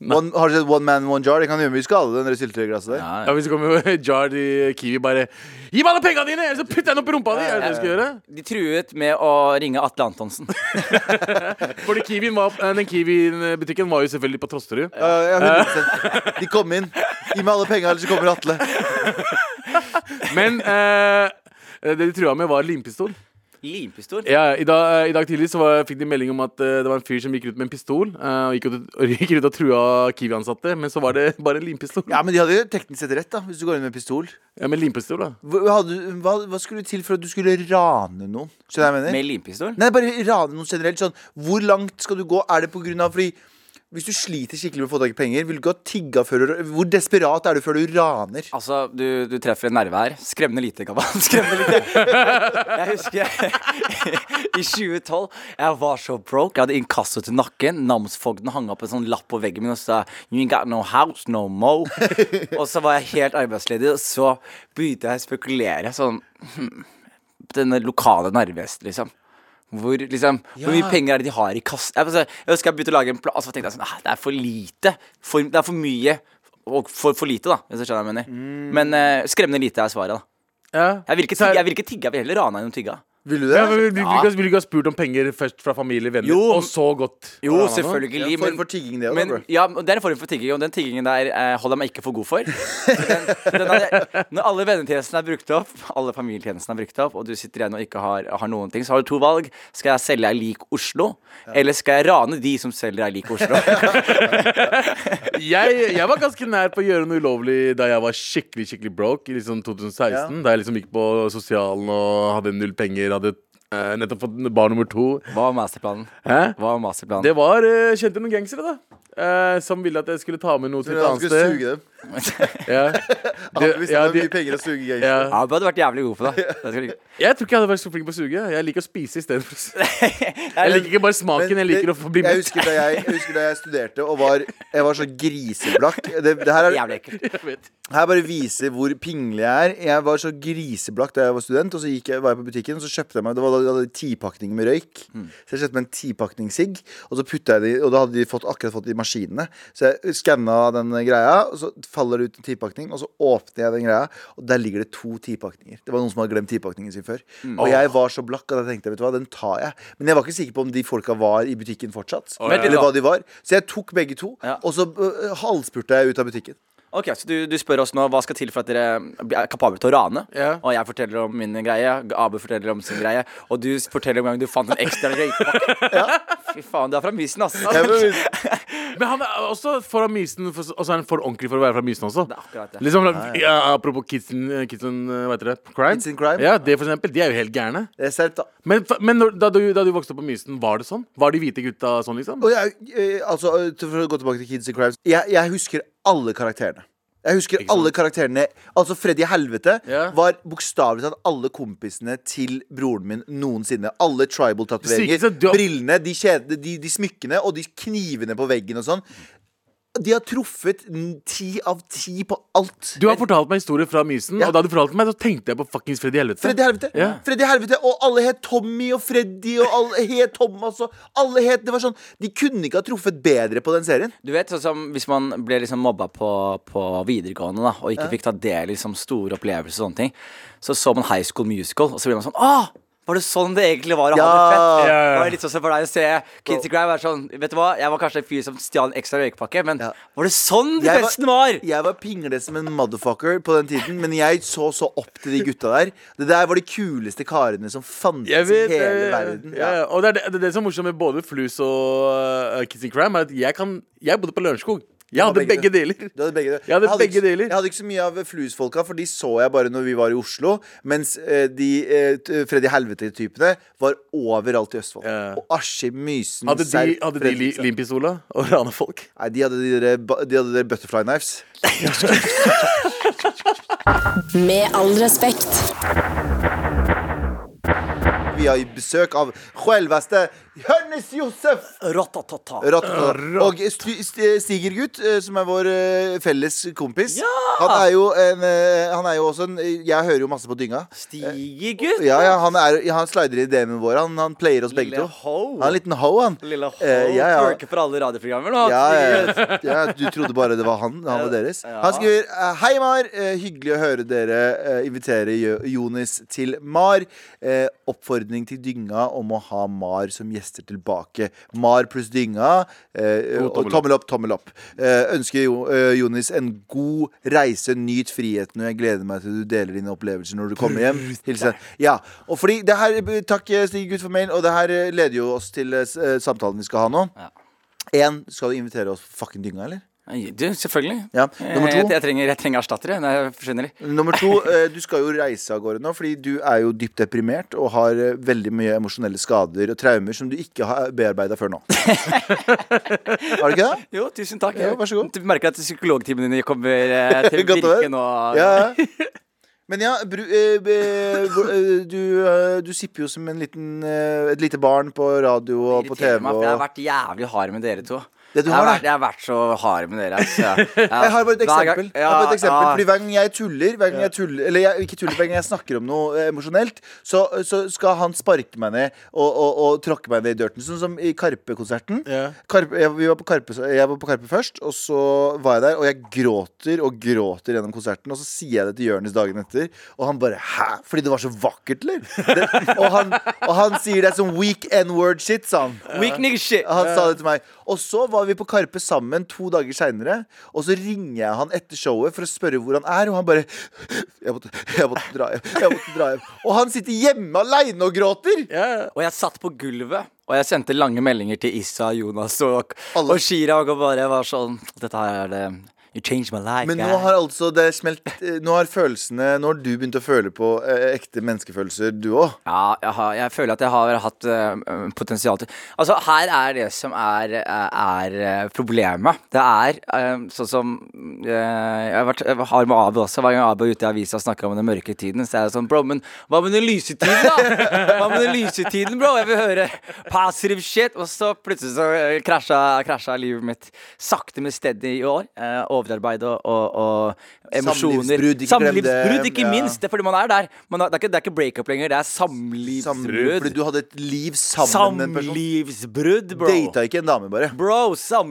A: One, har du sett One Man One Jar? Det kan gjøre mye skade, den der syltetøyglasset der.
B: Ja, Hvis det kommer Jar til Kiwi bare Gi meg alle pengene dine, eller så putter jeg den opp i rumpa di! Er det det du skal gjøre?
C: De truet med å ringe Atle Antonsen.
B: Fordi Kiwien var, eh, den Kiwi-butikken var jo selvfølgelig på Trosterud.
A: Ja, ja, 100%. De kom inn. Gi meg alle penga, ellers så kommer Atle.
B: Men eh, det de trua med, var limpistol.
C: Limpistol.
B: Ja, i, dag, eh, I dag tidlig så var, fikk de melding om at eh, det var en fyr som gikk rundt med en pistol. eh, og, gikk ut, og gikk rundt og trua Kiwi-ansatte, men så var det bare en limpistol.
A: Ja, men de hadde jo teknisk sett rett, da, hvis du går inn med pistol.
B: Ja, men limpistol, da.
A: Hva, hadde- hva, hva skulle til for at du skulle rane noen? Skjønner du hva jeg mener?
C: Med limpistol?
A: Nei, bare rane noen generelt. Sånn, hvor langt skal du gå? Er det på grunn av fordi Hvis du sliter skikkelig med å få tak i penger, vil du ikke ha tigga før du Hvor desperat er du før du raner?
C: Altså, du, du treffer en nerve her. Skremmende lite, Gabba. Skremmende lite. Jeg husker jeg, i 2012 Jeg var så broke. Jeg hadde inkasso til nakken. Namsfogden hang opp en sånn lapp på veggen min og sa You ain't got no house, no mo. Og så var jeg helt arbeidsledig, og så begynte jeg å spekulere sånn hmm, Denne lokale nervehesten, liksom. Hvor, liksom, hvor mye penger er det de har i kassen? Jeg, altså, jeg husker jeg begynte å lage en plan, og så tenkte jeg sånn «Ah, Det er for lite. For, det er for mye. Og for, for lite, da, hvis du skjønner hva jeg mener. Men eh, skremmende lite er svaret, da.
B: Ja.
C: Jeg vil ikke tigge, jeg vil ikke tigge. Jeg vil heller rane enn å tigge.
A: Vil du det?
B: Ja, men vil, vil, vil, vil, du ikke ha spurt om penger først fra familie venner,
C: Jo,
B: og så gått?
C: Jo,
B: Rana nå?
C: selvfølgelig.
A: Ja, for- for tigging det også,
C: men,
A: bro.
C: ja, men det er en form for tigging, og den tiggingen der eh, holder jeg meg ikke for god for. Så Den, den er, når alle vennetjenestene er brukt opp, alle familietjenestene er brukt opp, og du sitter igjen og ikke har, har noen ting, så har du to valg. Skal jeg selge ei lik Oslo, eller skal jeg rane de som selger ei lik Oslo?
B: jeg, jeg var ganske nær på å gjøre noe ulovlig da jeg var skikkelig skikkelig broke i liksom 2016. Da jeg liksom gikk på sosialen og hadde null penger, hadde eh, nettopp fått barn nummer to.
C: Hva var masterplanen?
B: Hæ?
C: Hva var masterplanen?
B: Det var eh, kjente noen gangstere, da. eh, som ville at jeg skulle ta med noe til et
A: Han
B: annet
A: skulle
B: sted.
A: suge dem.
B: Ja.
A: Han
B: Det-
A: visste
B: ja,
A: det var
B: de-
A: mye penger å suge gangster.
B: ja.
C: Ja, du hadde vært jævlig god på det. det skal du-
B: Jeg tror ikke jeg hadde vært så flink på å suge. Jeg liker å spise istedenfor å suge. Jeg liker ikke bare
A: Men
B: smaken, jeg liker å få bli
A: jeg
B: mett.
A: husker, da jeg, jeg husker da jeg studerte og var, jeg var så griseblakk. Det, det her, er,
C: Jævlig ekkelt.
B: Jeg vet.
A: her bare viser hvor pinglig jeg er. Jeg var så griseblakk da jeg var student, og så gikk jeg, var jeg på butikken og så kjøpte jeg meg Det var da de hadde tipakning med røyk. Så jeg kjøpte meg en tipakning sigg, og så putta jeg det i- Og da hadde de fått, akkurat fått det i maskinene. Så jeg skanna den greia, og så faller det ut en tipakning, og så åpner jeg den greia, og der ligger det to tipakninger. Det var noen som hadde glemt tipakningen sin før. Og jeg var så blakk at jeg tenkte, vet du hva, den tar jeg. Men jeg var ikke sikker på om de folka var i butikken fortsatt.
C: Vent litt
A: Eller
C: da.
A: hva de var. Så jeg tok begge to,
C: Ja.
A: og så øh, halvspurte jeg ut av butikken.
C: Ok, så du, du spør oss nå hva skal til for at dere er kapable til å rane.
B: Ja.
C: Og jeg forteller om min greie, Abu forteller om sin greie, og du forteller om gangen du fant en ekstra røykpakke. Fy faen, du er fra Mysen, ass.
A: Jeg var-
B: Men han er også fra Mysen, for- og så er han for ordentlig for å være fra Mysen også.
C: Det er akkurat det.
B: Liksom, ja, apropos Kids in, Kids in, eh, hva heter det? Crime?
A: Kids in Crime?
B: Ja, det for eksempel, De er jo helt gærne.
A: Det er sterkt, da.
B: Men, fa- men når, da, du, da du vokste opp på Mysen, var det sånn? Var de hvite gutta sånn, liksom?
A: Og jeg, eh, altså, eh, til- for å gå tilbake til Kids and Crimes jeg, jeg husker alle karakterene Jeg husker alle karakterene Altså Freddy Helvete
B: Ja.
A: var bokstavelig talt alle kompisene til broren min noensinne Alle tribal
B: Sikkert
A: tatueringer,
B: så du-
A: brillene, de, kjedene, de, de smykkene og de knivene på veggen og sånn De har truffet n- ti av ti på alt
B: Du har fortalt meg historier fra Mysen,
A: Ja.
B: og da du fortalte meg, så tenkte jeg på fuckings Freddy Helvete.
A: Freddy Helvete.
B: Ja.
A: Freddy Helvete Og alle het Tommy og Freddy og alle het Thomas og alle het Det var sånn De kunne ikke ha truffet bedre på den serien.
C: Du vet, sånn som hvis man ble liksom mobba på, på videregående da, og ikke fikk ta del i liksom, store opplevelser og sånne ting, så så man High School Musical, og så ble man sånn Åh! Var det sånn det egentlig var å ha det
A: Ja.
C: fett?
B: Ja, ja, ja.
C: Det var litt sånn som for deg å se Kids Grime være sånn Vet du hva, jeg var kanskje en fyr som stjal en ekstra røykepakke, men
A: Ja.
C: var det sånn
A: Jeg var-
C: festen var?
A: Jeg var pingle som en motherfucker på den tiden, men jeg så så opp til de gutta der. Det der var de kuleste karene som fantes
B: Jeg vet,
A: i hele
B: eh,
A: verden.
B: Ja.
A: Ja.
B: ja. Og det er det, det, er det som er morsomt med både Flus og uh, Kissing Cram, er at jeg kan Jeg bodde på Lørenskog. Jeg
A: hadde
B: hadde
A: begge
B: begge deler.
A: Du hadde begge deler.
B: Jeg hadde
A: ikke-
B: begge deler.
A: Jeg hadde ikke så mye av fluesfolka, for de så jeg bare når vi var i Oslo. Mens eh, de eh, t- Freddy Helvete-typene var overalt i Østfold.
B: Ja.
A: Og Askim, Mysen,
B: Hadde de,
A: Serp, liksom.
B: hadde de li,
A: Fredrikstad.
B: limpistola og rana folk?
A: Nei, de hadde de der, ba- de hadde de der butterfly knives.
D: Med all respekt.
A: Vi har besøk av selveste Jonis Josef!
C: Ratatata.
A: Ratatata. Og Sti- Sti- Stigergutt, eh, som er vår eh, felles kompis, han, er jo en, eh, han er jo også en Jeg hører jo masse på dynga.
C: Stiger, gutt!
A: Ja, ja, han, er, ja, han slider i DM-ene våre. Han, han player oss begge
C: Lille
A: to.
C: ho.
A: Han er en liten ho, han.
C: Lille ho.
A: Eh, ja, ja.
C: Twerker for alle radioprogrammer nå.
A: Ja,
C: Stiger.
A: ja, ja, du trodde bare det var han. Han var deres.
C: Ja.
A: Han skriver eh, Hei, Mar. Eh, Hyggelig å høre dere eh, invitere Jo- Jonis til Mar. Eh, Oppfordring til dynga om å ha Mar som gjester tilbake. Mar pluss dynga. eh,
B: God
A: Og
B: tommel opp.
A: tommel opp, tommel opp. Eh, Ønsker jo, eh, Jonis en god reise. Nyt friheten, og jeg gleder meg til du deler dine opplevelser når du kommer hjem. Hilsen. Ja, og fordi det her Takk, eh, Stig Gutt, for mailen. Og det her eh, leder jo oss til eh, s- eh, samtalen vi skal ha nå. En, skal du invitere oss på fucking dynga, eller?
C: Du, selvfølgelig.
A: Ja. Nummer
B: Eh,
C: Jeg,
A: to.
C: jeg, trenger, jeg trenger erstattere. Nei, jeg skjønner det.
A: Nummer to, eh, du skal jo reise av gårde nå, fordi du er jo dypt deprimert og har eh, veldig mye emosjonelle skader og traumer som du ikke har bearbeida før nå. Har du ikke det?
C: Jo, tusen takk.
A: Ja, vær så god.
C: Du merker at psykologtimene dine kommer eh, til
A: Godt å høre.
C: virke nå.
A: Ja. ja. Men ja, bru, eh, be- hvor- eh, du, eh, du sipper jo som en liten, eh, et lite barn på radio og på
C: Irriterer
A: TV.
C: meg, for Jeg har
A: Og...
C: vært jævlig hard med dere to.
A: Det du
C: jeg, har
A: har,
C: vært, jeg har vært så hard med dere. Altså. Jeg,
A: Jeg har bare et eksempel.
C: Ja,
A: jeg har bare et eksempel
C: ja.
A: Fordi Hver gang jeg tuller, hver gang jeg tuller eller jeg, ikke tuller, hver gang jeg snakker om noe eh, emosjonelt, så, så skal han sparke meg ned og, og, og tråkke meg ned i dirten. Sånn som i Karpe-konserten.
B: Ja.
A: Karpe, jeg, vi var på Karpe, jeg var på Karpe først, og så var jeg der, og jeg gråter og gråter gjennom konserten. Og så sier jeg det til Jonis dagen etter, og han bare 'hæ?' Fordi det var så vakkert, eller? Det, og, han, og han sier det som weak n-word shit, sa han.
C: Weak nigga shit.
A: Han sa det til meg. Og så var vi på Karpe sammen to dager seinere. Og så ringer jeg han etter showet for å spørre hvor han er, og han bare Jeg måtte, jeg måtte dra hjem. Jeg måtte dra hjem. Og han sitter hjemme aleine og gråter!
B: Ja,
C: Og jeg satt på gulvet, og jeg sendte lange meldinger til Issa, Jonas og,
A: Alle.
C: og Chirag og bare var sånn Dette her er det You changed my life.
A: Men nå
C: guy."
A: har altså det smelt eh, Nå har følelsene Nå har du begynt å føle på eh, ekte menneskefølelser, du òg.
C: Ja, jeg, har, jeg føler at jeg har hatt eh, potensial til Altså, her er det som er, er eh, problemet. Det er eh, sånn som eh, Jeg har vært jeg har med Abu også. Hver gang Abu er ute i avisa og snakker om den mørke tiden, så er det sånn Bro, men hva med den lyse tiden, da? Hva med den lyse tiden, bro? Jeg vil høre positive shit. Og så plutselig så eh, krasja, krasja livet mitt sakte, men steady i år. Eh, overarbeid og, og, og emosjoner.
A: Samlivsbrudd, ikke glem det.
C: Samlivsbrudd, ikke
A: Ja.
C: minst. Det er fordi man er der. Man er, det, er ikke, det er ikke breakup lenger, det er samlivsbrudd.
A: Fordi du hadde et liv sammen med en person.
C: Samlivsbrudd, bro.
A: Data ikke en dame, bare.
C: Bro,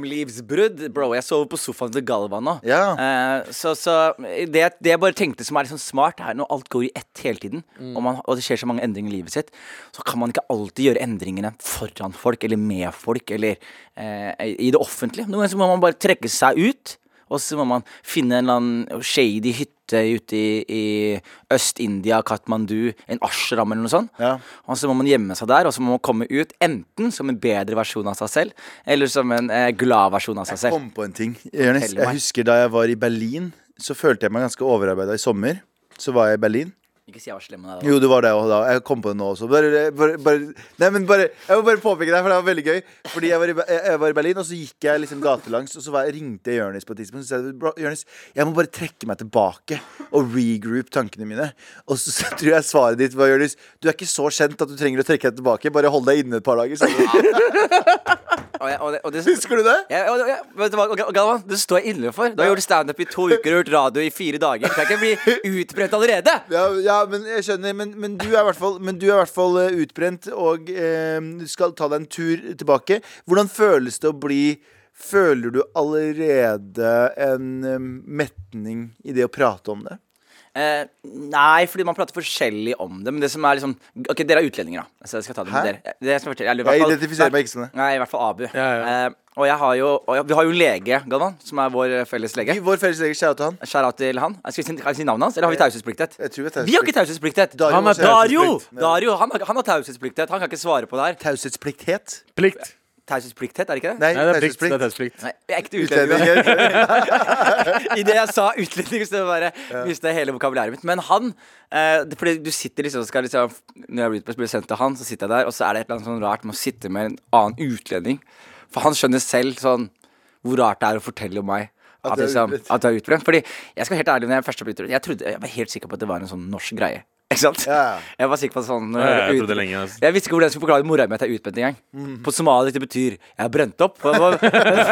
C: samlivsbrudd. Bro, jeg sover på sofaen til Galvan nå.
A: Ja.
C: Eh, så så det, det jeg bare tenkte som er liksom smart, er når alt går i ett hele tiden, og, man, og det skjer så mange endringer i livet sitt, så kan man ikke alltid gjøre endringene foran folk eller med folk eller eh, i det offentlige. Noen ganger så må man bare trekke seg ut. Og så må man finne en eller annen shady hytte ute i, i Øst-India, Katmandu, en ashram eller noe sånt.
A: Ja.
C: Og så må man gjemme seg der, og så må man komme ut enten som en bedre versjon av seg selv, eller som en eh, glad versjon av seg selv.
A: kom på en ting. Jonis,
C: Fortell meg.
A: jeg husker da jeg var i Berlin, så følte jeg meg ganske overarbeida i sommer. Så var jeg i Berlin.
C: Ikke si jeg var slem med deg. da.
A: Jo, det var det også da. Jeg kom på det nå også. Bare, bare, bare, nei, men bare, jeg må bare påpeke det, for det var veldig gøy. Fordi jeg var i, Be- jeg var i Berlin, og så gikk jeg liksom gatelangs, og så var, ringte jeg Jonis på et tidspunkt. Så sa jeg, «Bro, Jonis, jeg må bare trekke meg tilbake og regroup tankene mine. Og så, så tror jeg svaret ditt var, Jonis, du er ikke så kjent at du trenger å trekke deg tilbake. Bare hold deg inne et par dager. sa du.
C: Og jeg- og det- og det-
A: Husker du det?
C: Jeg- og- og- jeg- vet du hva, og- og Galvan, det står jeg inne for. Du har gjort standup i to uker og hørt radio i fire dager. Du kan ikke bli utbrent allerede!
A: Ja, ja, men jeg skjønner. Men, men du er i hvert fall, men du er i hvert fall eh, utbrent og eh, skal ta deg en tur tilbake. Hvordan føles det å bli Føler du allerede en eh, metning i det å prate om det?
C: Eh, nei, fordi man prater forskjellig om det. Men det som er liksom Ok, dere er utlendinger, da. Så jeg skal ta det med
A: Hæ?
C: dere. Det jeg, skal fortelle, eller i
A: Jeg
C: hvert fall-
A: identifiserer meg ikke som det.
C: Nei, i hvert fall Abu.
B: ja.
C: Eh, og jeg har jo og jeg, Vi har jo en lege, Galvan, som er vår eh, felles lege.
A: I Vår felles lege, kjære til han.
C: Skjær av til han. Skal vi si, kan vi si navnet hans, eller har vi taushetspliktighet?
A: Jeg tror vi
C: Vi har ikke taushetspliktighet!
A: Dario
B: Han er
A: har
C: Dario!
A: taushetsplikt.
C: Dario han, har- han har taushetspliktighet. Han kan ikke svare på det her.
A: Taushetsplikthet?
B: Plikt.
C: Taushetspliktighet, er det ikke det?
A: Nei,
B: Nei, det er plikt. Det er
A: taushetsplikt.
B: taushetsplikt.
C: Nei, jeg er ikke utlending.
A: Utlendinger.
C: Idet jeg sa utlending, så bare mista jeg hele vokabulæret mitt. Men han eh, det- Fordi du sitter liksom og skal liksom Når jeg blir- blir sendt til han, så sitter jeg der, og så er det et eller annet sånn rart med å sitte med en annen utlending. For han skjønner selv sånn hvor rart det er å fortelle om meg. At,
A: du er
C: liksom,
A: utbrent.
C: at du er utbrent. Fordi jeg skal være helt ærlig, når jeg først ble utbrent, jeg, trodde, jeg var helt sikker på at det var en sånn norsk greie. Ikke sant?
A: Ja.
C: Jeg var sikker på at sånn når
B: Ja, ja, jeg
C: ut-
B: trodde det lenge, altså.
C: Jeg visste ikke hvordan jeg skulle forklare mora mi at jeg er utbrent engang. På somali det betyr 'jeg er brent opp'. Jeg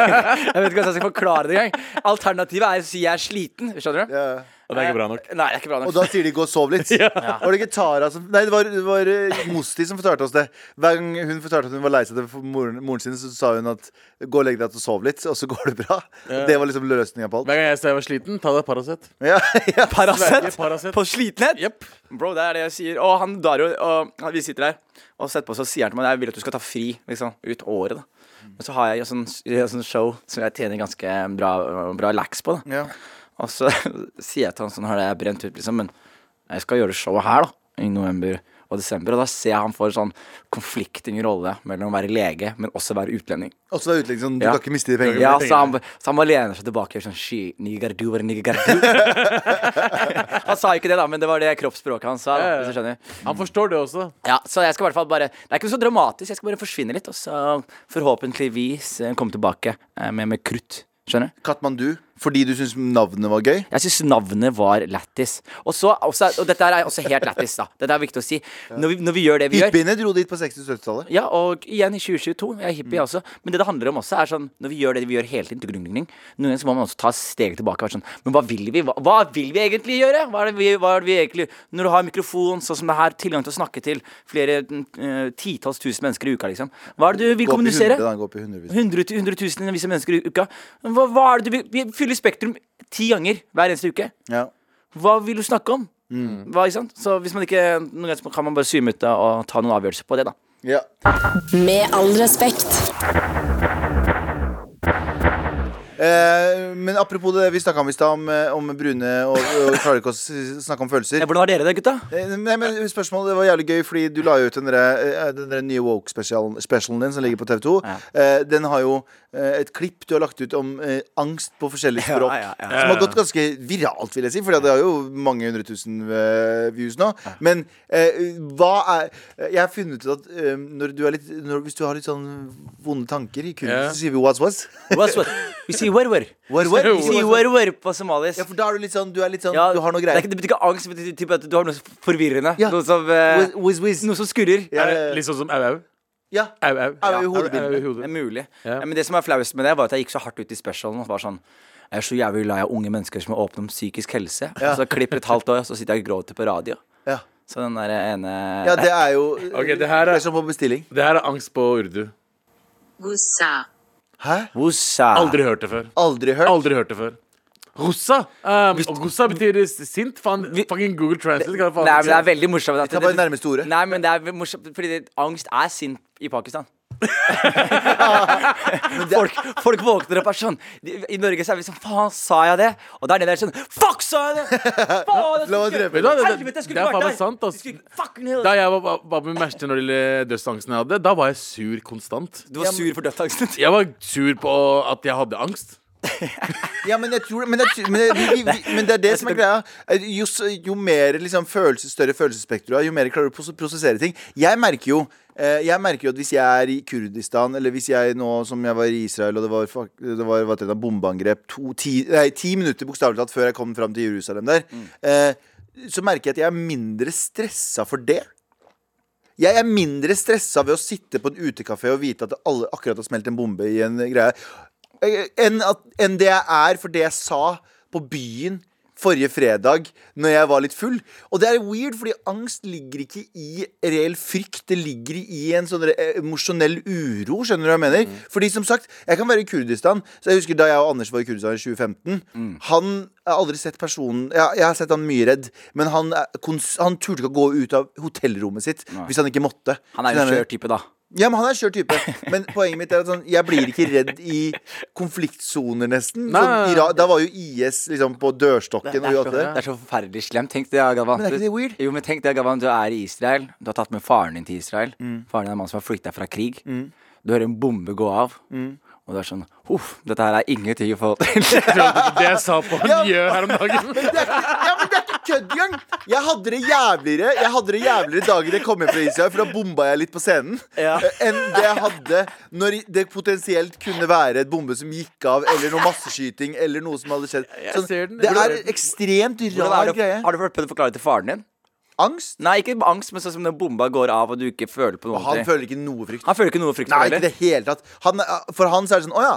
C: vet ikke hvordan jeg skal forklare det engang. Alternativet er å si 'jeg er sliten'. Skjønner du?
A: Ja.
B: Og det er ikke bra nok.
C: Nei, det er ikke bra nok.
A: Og da sier de 'gå og sov litt'. Var det ikke Tara som Nei, det var, det var eh, Musti som fortalte oss det. Hver gang hun fortalte at hun var lei seg for moren, moren sin, så sa hun at 'gå og legg deg og sov litt, og så går det bra'. Det var liksom løsninga på alt.
B: Hver gang jeg sa jeg var sliten, ta deg Paracet.
A: Ja, ja.
C: Paracet?
B: Sverige, Paracet.
C: På slitenhet? Bro, det er det jeg sier. Og han Dario og han- vi sitter her og setter på, så sier han til meg jeg vil at du skal ta fri liksom, ut året. da Men så har jeg jo sånn, jeg har sånn show som jeg tjener ganske bra, bra lax på. da
A: Ja.
C: Og så sier jeg til han sånn, hør, jeg er brent ut, liksom, men jeg skal gjøre showet her, da, i november. og desember. Og da ser jeg han får en sånn konflikting rolle mellom å være lege, men også være utlending.
A: Og så er det utlegg sånn, du
C: Ja.
A: kan ikke miste de pengene.
C: Ja, så han, så han bare lener seg tilbake og gjør sånn She, nigger do, or nigger do. han sa ikke det, da, men det var det kroppsspråket han sa. Da,
B: Ja, ja.
C: hvis du skjønner
B: Han forstår det også.
C: ja, så jeg skal i hvert fall bare Det er ikke så dramatisk, jeg skal bare forsvinne litt, og så forhåpentligvis eh, komme tilbake eh, med, med krutt. Skjønner?
A: Katmandu, fordi du syns navnet var gøy?
C: Jeg syns navnet var lættis. Og, så- og så- og dette her er også helt lættis, da. Dette er viktig å si. Når vi, når vi gjør det vi gjør
A: Hyppiene dro dit på 60-70-tallet.
C: Ja, og igjen i 2022. Jeg er hippie,
A: Mm.
C: jeg også. Men det det handler om også, er sånn når vi gjør det vi gjør hele tiden, dugg, dugg, dugg, dugg, noen ganger så må man også ta steget tilbake og være sånn Men hva vil vi? Hva, hva vil vi egentlig gjøre? Hva er det vi, hva er det vi egentlig Når du har mikrofon, sånn som det her, tilgang til å snakke til flere eh, titalls tusen mennesker i uka, liksom. Hva er det du vil
A: Gå opp i 100,
C: kommunisere?
A: da, gå opp i 100
C: 100 til 100 000 visse mennesker i uka. Hva, hva er det du vil? Vi fyller Spektrum ti ganger hver eneste uke.
A: ja.
C: Hva vil du snakke om? Hva, ikke sant? Så hvis man ikke Noen ganger så kan man bare zoome ut da, og ta noen avgjørelser på det, da.
A: ja.
E: Med all respekt.
A: Eh, men apropos det vi snakka om i stad, om, eh, om brune og, og klarer ikke å s- snakke om følelser.
C: Ja, Hvordan har dere det, gutta?
A: Eh, Nei, men spørsmålet, Det var jævlig gøy, fordi du la jo ut den, der, eh, den der nye Woke-spesialen specialen din som ligger på TV2. Eh, Den har jo eh, et klipp du har lagt ut om eh, angst på forskjellige språk.
C: ja, ja.
A: Som har gått ganske viralt, vil jeg si, for det har jo mange hundre tusen eh, views nå. Men eh, hva er Jeg har funnet ut at eh, når du er litt, når, hvis du har litt sånn vonde tanker i kurden,
B: Ja.
A: så sier vi what's what's.
C: Eh, What's what? Vi sier werwer.
A: What, what?
C: Vi sier werwer på somalisk.
A: Ja, for da er du litt sånn, du, er litt sånn,
C: Ja,
A: du har noe
C: Det, er
A: greier.
C: ikke, det betyr ikke angst, det betyr typ at du har noe forvirrende.
A: Ja.
C: Noe, som, eh,
A: Whiz, whiz, whiz.
C: noe som skurrer.
A: Ja,
B: Er det
A: ja, ja.
B: litt sånn som au-au?
A: ja.
B: Au-au.
A: Au i
B: Ja,
A: hodet.
B: au-au i
C: Det
B: hodet.
C: er mulig.
B: Ja.
C: Men det som er flauest med det, var at jeg gikk så hardt ut i specialen. Og var sånn Jeg er så jævlig lei av unge mennesker som er åpne om psykisk helse. Og så klipper et halvt år, og så sitter jeg og gråter på radio.
A: Ja.
C: Så den der ene
A: ja, det er jo
B: Ok, det her er-
A: det er som på bestilling.
B: Det her er angst på urdu.
E: Gussa.
A: Hæ?
C: Wossa.
B: Aldri hørt det før.
A: Aldri hørt?
B: Aldri hørt det før. Russa. Um, og russa betyr s- sint. Faen, fucking Google Translate. Kan jeg faen
C: Nei,
B: ikke
C: men det er
B: si.
C: veldig morsomt. at
A: tar bare det nærmeste ordet.
C: Nei, men det er morsomt, fordi det, angst er sint i Pakistan. folk, folk våkner opp og er sånn de, I Norge så er vi sånn Faen, sa jeg det? Og der nede er det sånn Fuck, sa jeg det? Faen, jeg
A: La
C: skulle
A: meg
C: ikke-
A: drepe
B: Vet du hva, det-
C: Helvete, jeg
B: det
C: skulle
B: er
C: ikke
B: faen meg
C: vært der!
B: sant, ass.
C: Jeg skulle ikke- fucking hell.
B: Da jeg var, var- var på min verste når det gjelder dødsangsten jeg hadde, da var jeg sur konstant.
C: Du var sur for dødsangsten.
B: Jeg var sur på at jeg hadde angst.
A: Ja, men jeg tror det Men, jeg, tror- men, jeg, vi, vi, vi, men det er det som er greia. Er Jo, s- jo mer liksom, følelse, større følelsesspekter du har, jo mer klarer du å pros- prosessere ting. Jeg merker jo eh, jeg merker jo at hvis jeg er i Kurdistan, eller hvis jeg nå som jeg var i Israel, og det var, fuck- det var, var et av bombeangrep to, ti, nei, ti minutter bokstavelig talt før jeg kom fram til Jerusalem der,
B: Mm.
A: eh, så merker jeg at jeg er mindre stressa for det. Jeg er mindre stressa ved å sitte på en utekafé og vite at det alle akkurat har smelt en bombe i en greie, eh, enn at- enn det jeg er for det jeg sa på byen forrige fredag når jeg var litt full. Og det er weird, fordi angst ligger ikke i reell frykt. Det ligger i en sånn re- emosjonell uro, skjønner du hva jeg mener?
C: Mm.
A: Fordi som sagt, jeg kan være i Kurdistan. Så jeg husker Da jeg og Anders var i Kurdistan i 2015
C: Mm.
A: Han jeg har aldri sett personen Jeg, jeg har sett han mye redd, men han, er kons- han turte ikke å gå ut av hotellrommet sitt hvis han ikke måtte.
C: Han er jo
A: Skjønner du?
C: en skjør type, da.
A: Ja, men han er skjør type. Men poenget mitt er at sånn, jeg blir ikke redd i konfliktsoner, nesten.
B: Nei,
A: Sånn,
B: nei, nei.
A: Ira da var jo IS liksom på dørstokken.
C: Det er,
A: og gjorde
C: så,
A: alt det.
C: det er så forferdelig slemt. Tenk det, Gavan.
A: Men er ikke det weird?
C: Jo, men tenk det, Gavan. Du er i Israel. Du har tatt med faren din til Israel.
A: Mm.
C: Faren din er en mann som har flykta fra krig. Du hører en bombe gå av.
A: Mm.
C: Og du er sånn Huff, dette her er ingenting i forhold til
B: Det jeg sa på han gjør her om dagen.
A: Det er ikke, ja, men det er ikke kødd engang! Jeg hadde det jævligere Jeg hadde det jævligere dagen jeg kom hjem fra Israel, for da bomba jeg litt på scenen,
C: Ja.
A: eh, enn det jeg hadde når i- det potensielt kunne være et bombe som gikk av, eller noe masseskyting, eller noe som hadde skjedd.
B: Jeg
A: Sånn,
B: ser den.
A: det
B: Hvordan
A: er
B: er den?
A: ekstremt
C: Hvordan er
A: rar
C: det-
A: greie.
C: Har du prøvd å forklare det til faren din?
A: Angst?
C: Nei, ikke angst, men sånn som når bomba går av og du ikke føler på noe
A: Han
C: ordentlig.
A: føler ikke noe frykt.
C: Han føler ikke noe frykt
A: Nei,
C: for
A: ikke i
C: det.
A: det hele tatt. Han, for han så er det sånn Å ja.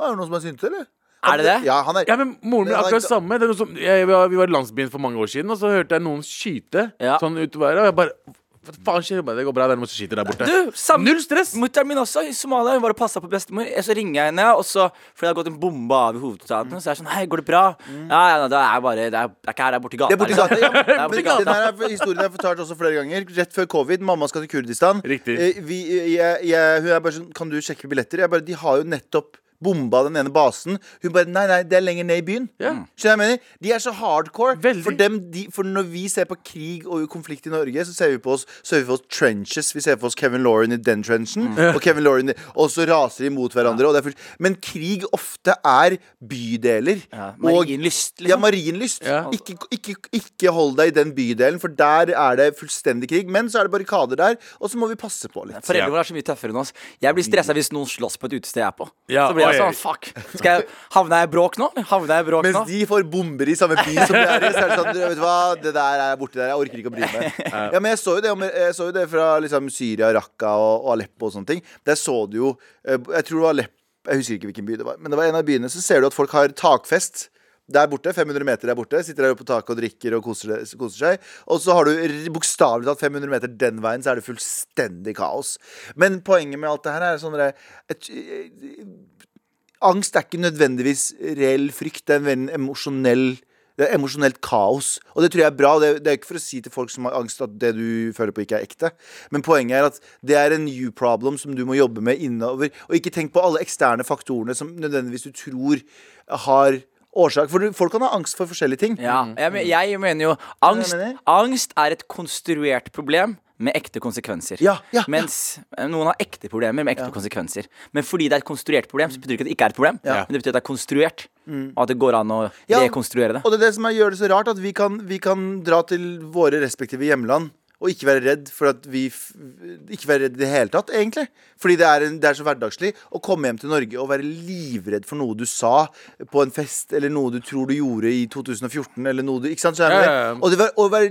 A: Er det noen som er synte, eller?
C: Er det det?
A: Ja, han er
B: Ja, men Moren min er akkurat samme. Det er noe som, jeg, vi var- vi var i landsbyen for mange år siden, og så hørte jeg noen skyte
C: Ja.
B: sånn utover. Og jeg bare Hva faen skjer? Jeg bare, Det går bra, det er noen som skyter der borte.
C: Du, samme-
B: Null stress.
C: Mutter'n min også, i Somalia, hun var og passa på bestemor. Jeg- Så ringer jeg henne, og så fordi det har gått en bombe av i hovedstaden, så jeg er sånn Hei, går det bra? Ja, ja, det er bare Det er, det er ikke her, det er borti gata. liksom.
A: Det er borti gata. Ja,
C: Det er borti
A: men
C: gata.
A: den her er- historien er fortalt også flere ganger. Rett før covid. Mamma skal til Kurdistan.
B: Riktig.
A: Eh, Vi, jeg, jeg, hun er bare sånn Kan du sjekke billetter? Jeg bare De har jo nettopp bomba den ene basen. Hun bare Nei, nei, det er lenger ned i byen. Mm.
B: Ja.
A: Skjønner du hva jeg mener? De er så hardcore.
B: Veldig.
A: For, dem, de, for når vi ser på krig og konflikt i Norge, så ser vi på oss, så ser vi for oss trenches. Vi ser for oss Kevin Lauren i den trenchen,
C: Mm.
A: og Kevin Lauren i, Og så raser de mot hverandre. Og det er fullt- men krig ofte er bydeler.
C: Ja,
A: og-
C: Marienlyst, liksom.
A: Ja, Marienlyst.
B: Ja.
A: Ikke, ikke, ikke hold deg i den bydelen, for der er det fullstendig krig. Men så er det barrikader der, og så må vi passe på litt.
C: Foreldrene våre er så mye tøffere enn oss. Jeg blir stressa hvis noen slåss på et utested jeg er på.
B: Ja,
C: så blir jeg
B: oi, oi.
C: sånn, fuck Skal jeg Havna jeg i bråk nå? Havna jeg i bråk
A: Mens
C: nå?
A: de får bomber i samme by som de er i. Så er det sånn, vet du hva, det der er borte der, jeg orker ikke å bry meg. Ja, men jeg så jo det, om- jeg så jo det fra liksom, Syria, Raqqa og, og Aleppo og sånne ting. Der så du jo eh, Jeg tror det var Aleppo, jeg husker ikke hvilken by det var, men det var en av byene. Så ser du at folk har takfest. Der borte, 500 meter der borte Sitter der oppe på taket og drikker og koser, koser seg Og så har du r- bokstavelig talt 500 meter den veien Så er det fullstendig kaos Men poenget med alt det her er sånn der, et, angst er ikke nødvendigvis reell frykt. Det er en ven- emosjonell det er emosjonelt kaos. Og det tror jeg er bra. og Det, det er ikke for å si til folk som har angst at det du føler på, ikke er ekte. Men poenget er at det er en new problem som du må jobbe med innover. Og ikke tenk på alle eksterne faktorene som nødvendigvis du tror har årsak. For du- folk kan ha angst for forskjellige ting.
C: Ja, jeg, men- jeg mener jo angst,
A: mener?
C: angst er et konstruert problem med ekte konsekvenser.
A: Ja, ja, ja.
C: Mens eh, noen har ekte problemer med ekte konsekvenser. Men fordi det er et konstruert problem, så betyr det ikke at det ikke er et problem.
A: Ja. Mm.
C: Men det betyr at det er konstruert, og at det går an å
A: Ja,
C: rekonstruere det.
A: Og det er det som er, gjør det så rart, at vi kan, vi kan dra til våre respektive hjemland og ikke være redd for at vi f Ikke være redd i det hele tatt, egentlig. Fordi det er, en, det er så hverdagslig å komme hjem til Norge og være livredd for noe du sa på en fest, eller noe du tror du gjorde i 2014, eller noe du Ikke sant? Så er det,
B: Ja, ja, ja.
A: Og det var, å være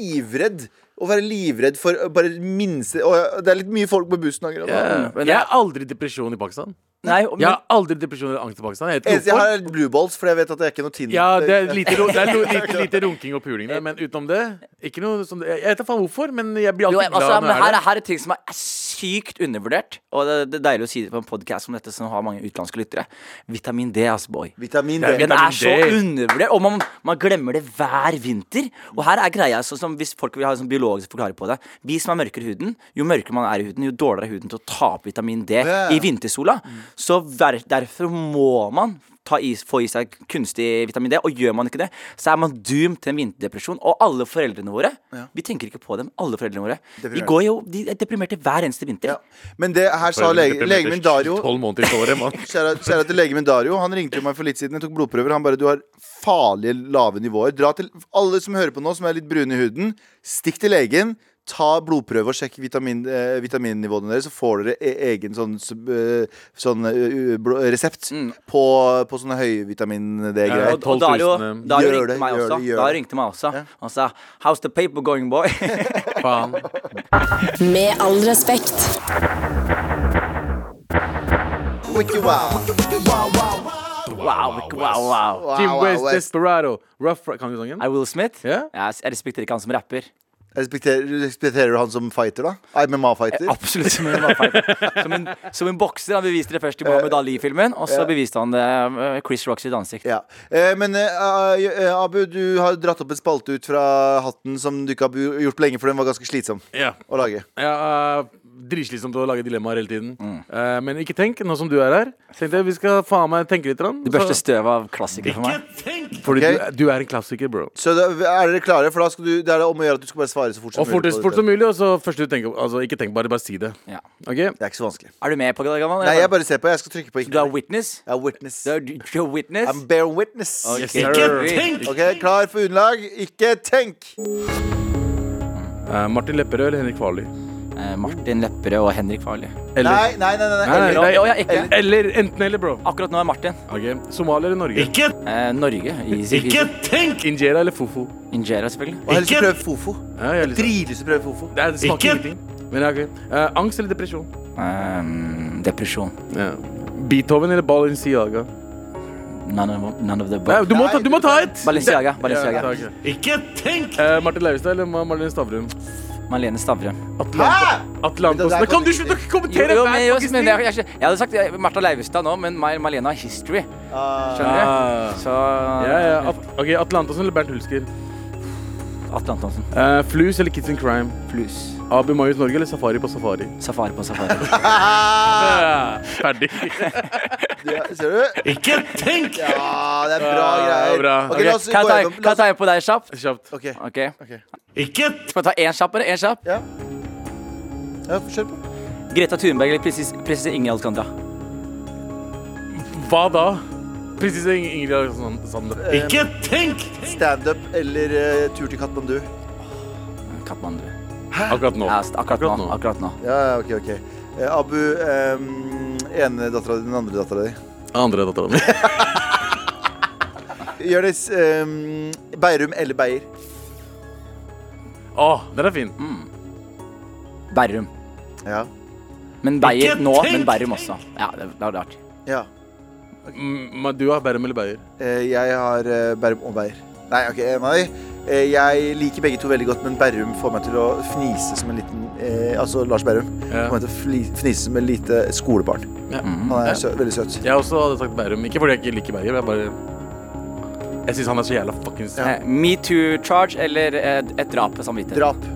A: livredd Å være livredd for eh, bare minste og Det er litt mye folk på bussen akkurat nå.
C: Men
B: Jeg har aldri depresjon i Pakistan.
C: Nei, og-
B: Jeg har aldri depresjon eller angst i Pakistan. Jeg vet
A: Eneste
B: ikke
A: jeg
B: hvorfor.
A: har, er blue balls, for jeg vet at det er ikke noe Tinder.
B: Ja, det er lite, ro- det er lo- lite, lite runking og puling der, men utenom det ikke noe sånn, Jeg vet da faen hvorfor, men jeg blir
C: Jo, jeg,
B: alltid
C: altså,
B: glad
C: men
B: når
C: her,
B: jeg
C: er-
B: er der.
C: her er ting som er sykt undervurdert. Og det, det er deilig å si det på en podkast som dette, som har mange utenlandske lyttere. Vitamin D, ass, boy.
A: Vitamin
B: Det er
A: D.
C: Den er
B: Vitamin
C: så
B: D.
C: undervurdert, og man, man glemmer det hver vinter. Og her er greia, sånn som hvis folk vil ha en sånn biologisk forklaring på det Vi som er mørkere i huden, jo mørkere man er i huden, jo dårligere er huden til å ta opp vitamin D
A: Ja.
C: i vintersola. Så ver, derfor må man ta i, få i seg kunstig vitamin D, og gjør man ikke det, så er man doomed til en vinterdepresjon. Og alle foreldrene våre Vi tenker ikke på dem, alle foreldrene våre. De,
A: Deprimerte.
C: går jo, de er deprimerte hver eneste vinter.
A: Ja. Men det her sa lege, legen min Dario
B: Tolv måneder i året, mann.
A: Kjære kjære til legen min Dario. Han ringte jo meg for litt siden. Jeg tok blodprøver. Han bare Du har farlige lave nivåer. Dra til alle som hører på nå, som er litt brune i huden. Stikk til legen. Ta blodprøve og sjekk vitamin, eh, vitaminnivåene deres, så får dere e egen sånn, sub- eh, sånn eh, u- blå- resept på, på sånne høyvitamin D-greier.
B: Ja,
C: Og, og
B: 12 000,
C: Dario,
B: eh,
C: Dario
A: gjør
C: ringte
A: det,
C: meg
A: gjør
C: også.
A: det, gjør
C: Dario
A: det.
C: ringte meg også. Han sa 'How's the paper going, boy?'
B: Faen.
E: Med all respekt.
A: Wiki wow.
C: wow, wow, wow.
A: Wow,
B: Team
A: wow,
B: West,
A: West.
B: Desperado. Rough Ri- Kan du sangen?
C: Er Will Smith?
B: Ja.
C: Ja, Jeg respekterer ikke han som rapper.
A: Respekterer, respekterer du han som fighter, da? MMA-fighter?
C: Absolutt Som en, motherfucker. som en, som en bokser. Han beviste det først i Mohammed Ali-filmen, og så beviste han det eh, Chris Rocks sitt ansikt.
A: Ja. Eh, men eh, eh, Abu, du har dratt opp en spalte ut fra hatten som du ikke har gjort lenge, for den var ganske slitsom
B: Ja.
A: å lage.
B: Ja, eh, Dritslitsomt å lage dilemmaer hele tiden.
A: Mm.
B: Eh, men ikke tenk, nå som du er her. Tenkte jeg Vi skal faen meg tenke litt. Rann,
C: Du børster støv av klassikere for meg.
B: Fordi
A: Ok.
B: du, du er en klassiker, bro.
A: Så da, er dere klare? For da skal du, det er det om å gjøre at du skal bare svare så fort som
B: Og fortest
A: på
B: fort
A: dette.
B: som mulig. Og så første du tenker altså, Ikke tenk, bare, bare si det.
C: Ja.
B: Ok?
A: Det er ikke så vanskelig.
C: Er du med på det, Gavan?
A: Nei, jeg bare ser på. Jeg skal trykke på
C: Du
A: ikke.
C: er witness?
A: Jeg er witness.
C: Du er, du er witness?
A: I'm bare witness.
C: Ok.
B: Yes, sir.
A: OK, klar for underlag? Ikke tenk!
B: Eh, Martin Lepperød eller Henrik Farley?
C: Eh, Martin Lepperød og Henrik Farley.
B: Eller,
A: Nei, nei, nei. nei,
B: Nei, nei,
A: eller-
B: nei.
C: Å, ja, ikke.
B: eller, eller enten eller, bro.
C: Akkurat nå er Martin.
B: Ok, Somalia eller Norge?
C: Eh, Norge. Easy peasy.
B: Injera eller Fofo?
C: Injera, selvfølgelig.
A: Og helst prøve Fofo.
B: Ja, jeg har lyst til-
A: Dritlyst til å prøve Fofo.
B: Det er- det smaker ingenting. Men ja, ok. Eh, angst eller depresjon?
C: Eh, depresjon.
B: Beethoven eller Balenciaga?
C: None of, none of the
B: Nei,
C: above.
B: du, må ta, du må ta et!
C: Balenciaga.
B: Ja,
C: Balenciaga.
B: takk. Eh, Martin Leivestad eller Ma- Marlene Stavrum?
C: Malene Stavre.
A: Hæ?! Det
B: Atlantåsen.
A: der
B: Kan
A: kan
B: du
A: du
B: slutte å
C: Jo,
B: kommentere
C: jo, men,
B: hver
C: jo,
B: fuckings
C: men jeg,
B: ting?
C: jeg, jeg hadde sagt eh, Martha Leivestad nå, men Mar Malena har history. Skjønner du?
B: Ah.
C: Så
B: Ja, ja. At, ok, Atlantåsen eller Bernt Hulsker?
C: Atle Antonsen.
B: Eh, flus eller Kids in Crime?
C: Flus.
B: Abu Mayut Norge eller Safari på safari?
C: Safari på safari.
B: Ferdig.
A: Ja, ser Ah! du?
F: Ikke tenk!
A: Ja, det er bra
B: Ja,
A: greier.
B: bra.
A: Ok,
B: Ok,
A: la oss
C: Kan jeg
A: gå
C: ta,
A: gjennom
C: kan jeg ta en på deg kjapt?
B: Kjapt.
A: Ok,
C: Ok.
A: ok
F: Ikke
C: Skal vi ta én kjapp, eller? En kjapp?
A: Ja. ja, kjør på.
C: Greta Thunberg eller presis- prinsesse Ingrid Alcandra?
B: Hva da? Prinsesse Ing- Ingrid Alexander Sande.
F: Ikke tenk!
A: Standup eller eh, tur til Katmandu.
C: Katmandu.
B: Akkurat nå.
C: Ja, akkurat nå.
B: Akkurat nå.
C: Akkurat nå.
A: Ja, ja, ok, ok. Eh, Abu, um, ene dattera di, den andre dattera di.
B: Andre dattera mi.
A: Jonis, ehm, Beirum eller Beyer?
B: Å, den er fin.
C: Berrum.
A: Ja.
C: Men Beyer
F: Ikke
C: nå,
F: tenk!
C: men Berrum også. Ja, det, det var rart.
A: ja.
B: Mm, men du har Bærum eller Beyer?
A: Eh, jeg har eh, Bærum og Beyer. Nei, ok, en av de. Eh, jeg liker begge to veldig godt, men Bærum får meg til å fnise som en liten eh, Altså Lars Bærum.
B: Ja.
A: Får meg til å fli, fnise som et lite skolebarn.
B: Ja.
A: Han er sø, veldig søt.
B: Jeg også hadde sagt Bærum. Ikke fordi jeg ikke liker Beyer, men jeg bare Jeg syns han er så jævla fuckings
C: Eh, Metoo-charge eller eh, et drap på samvittighet?
A: Drap.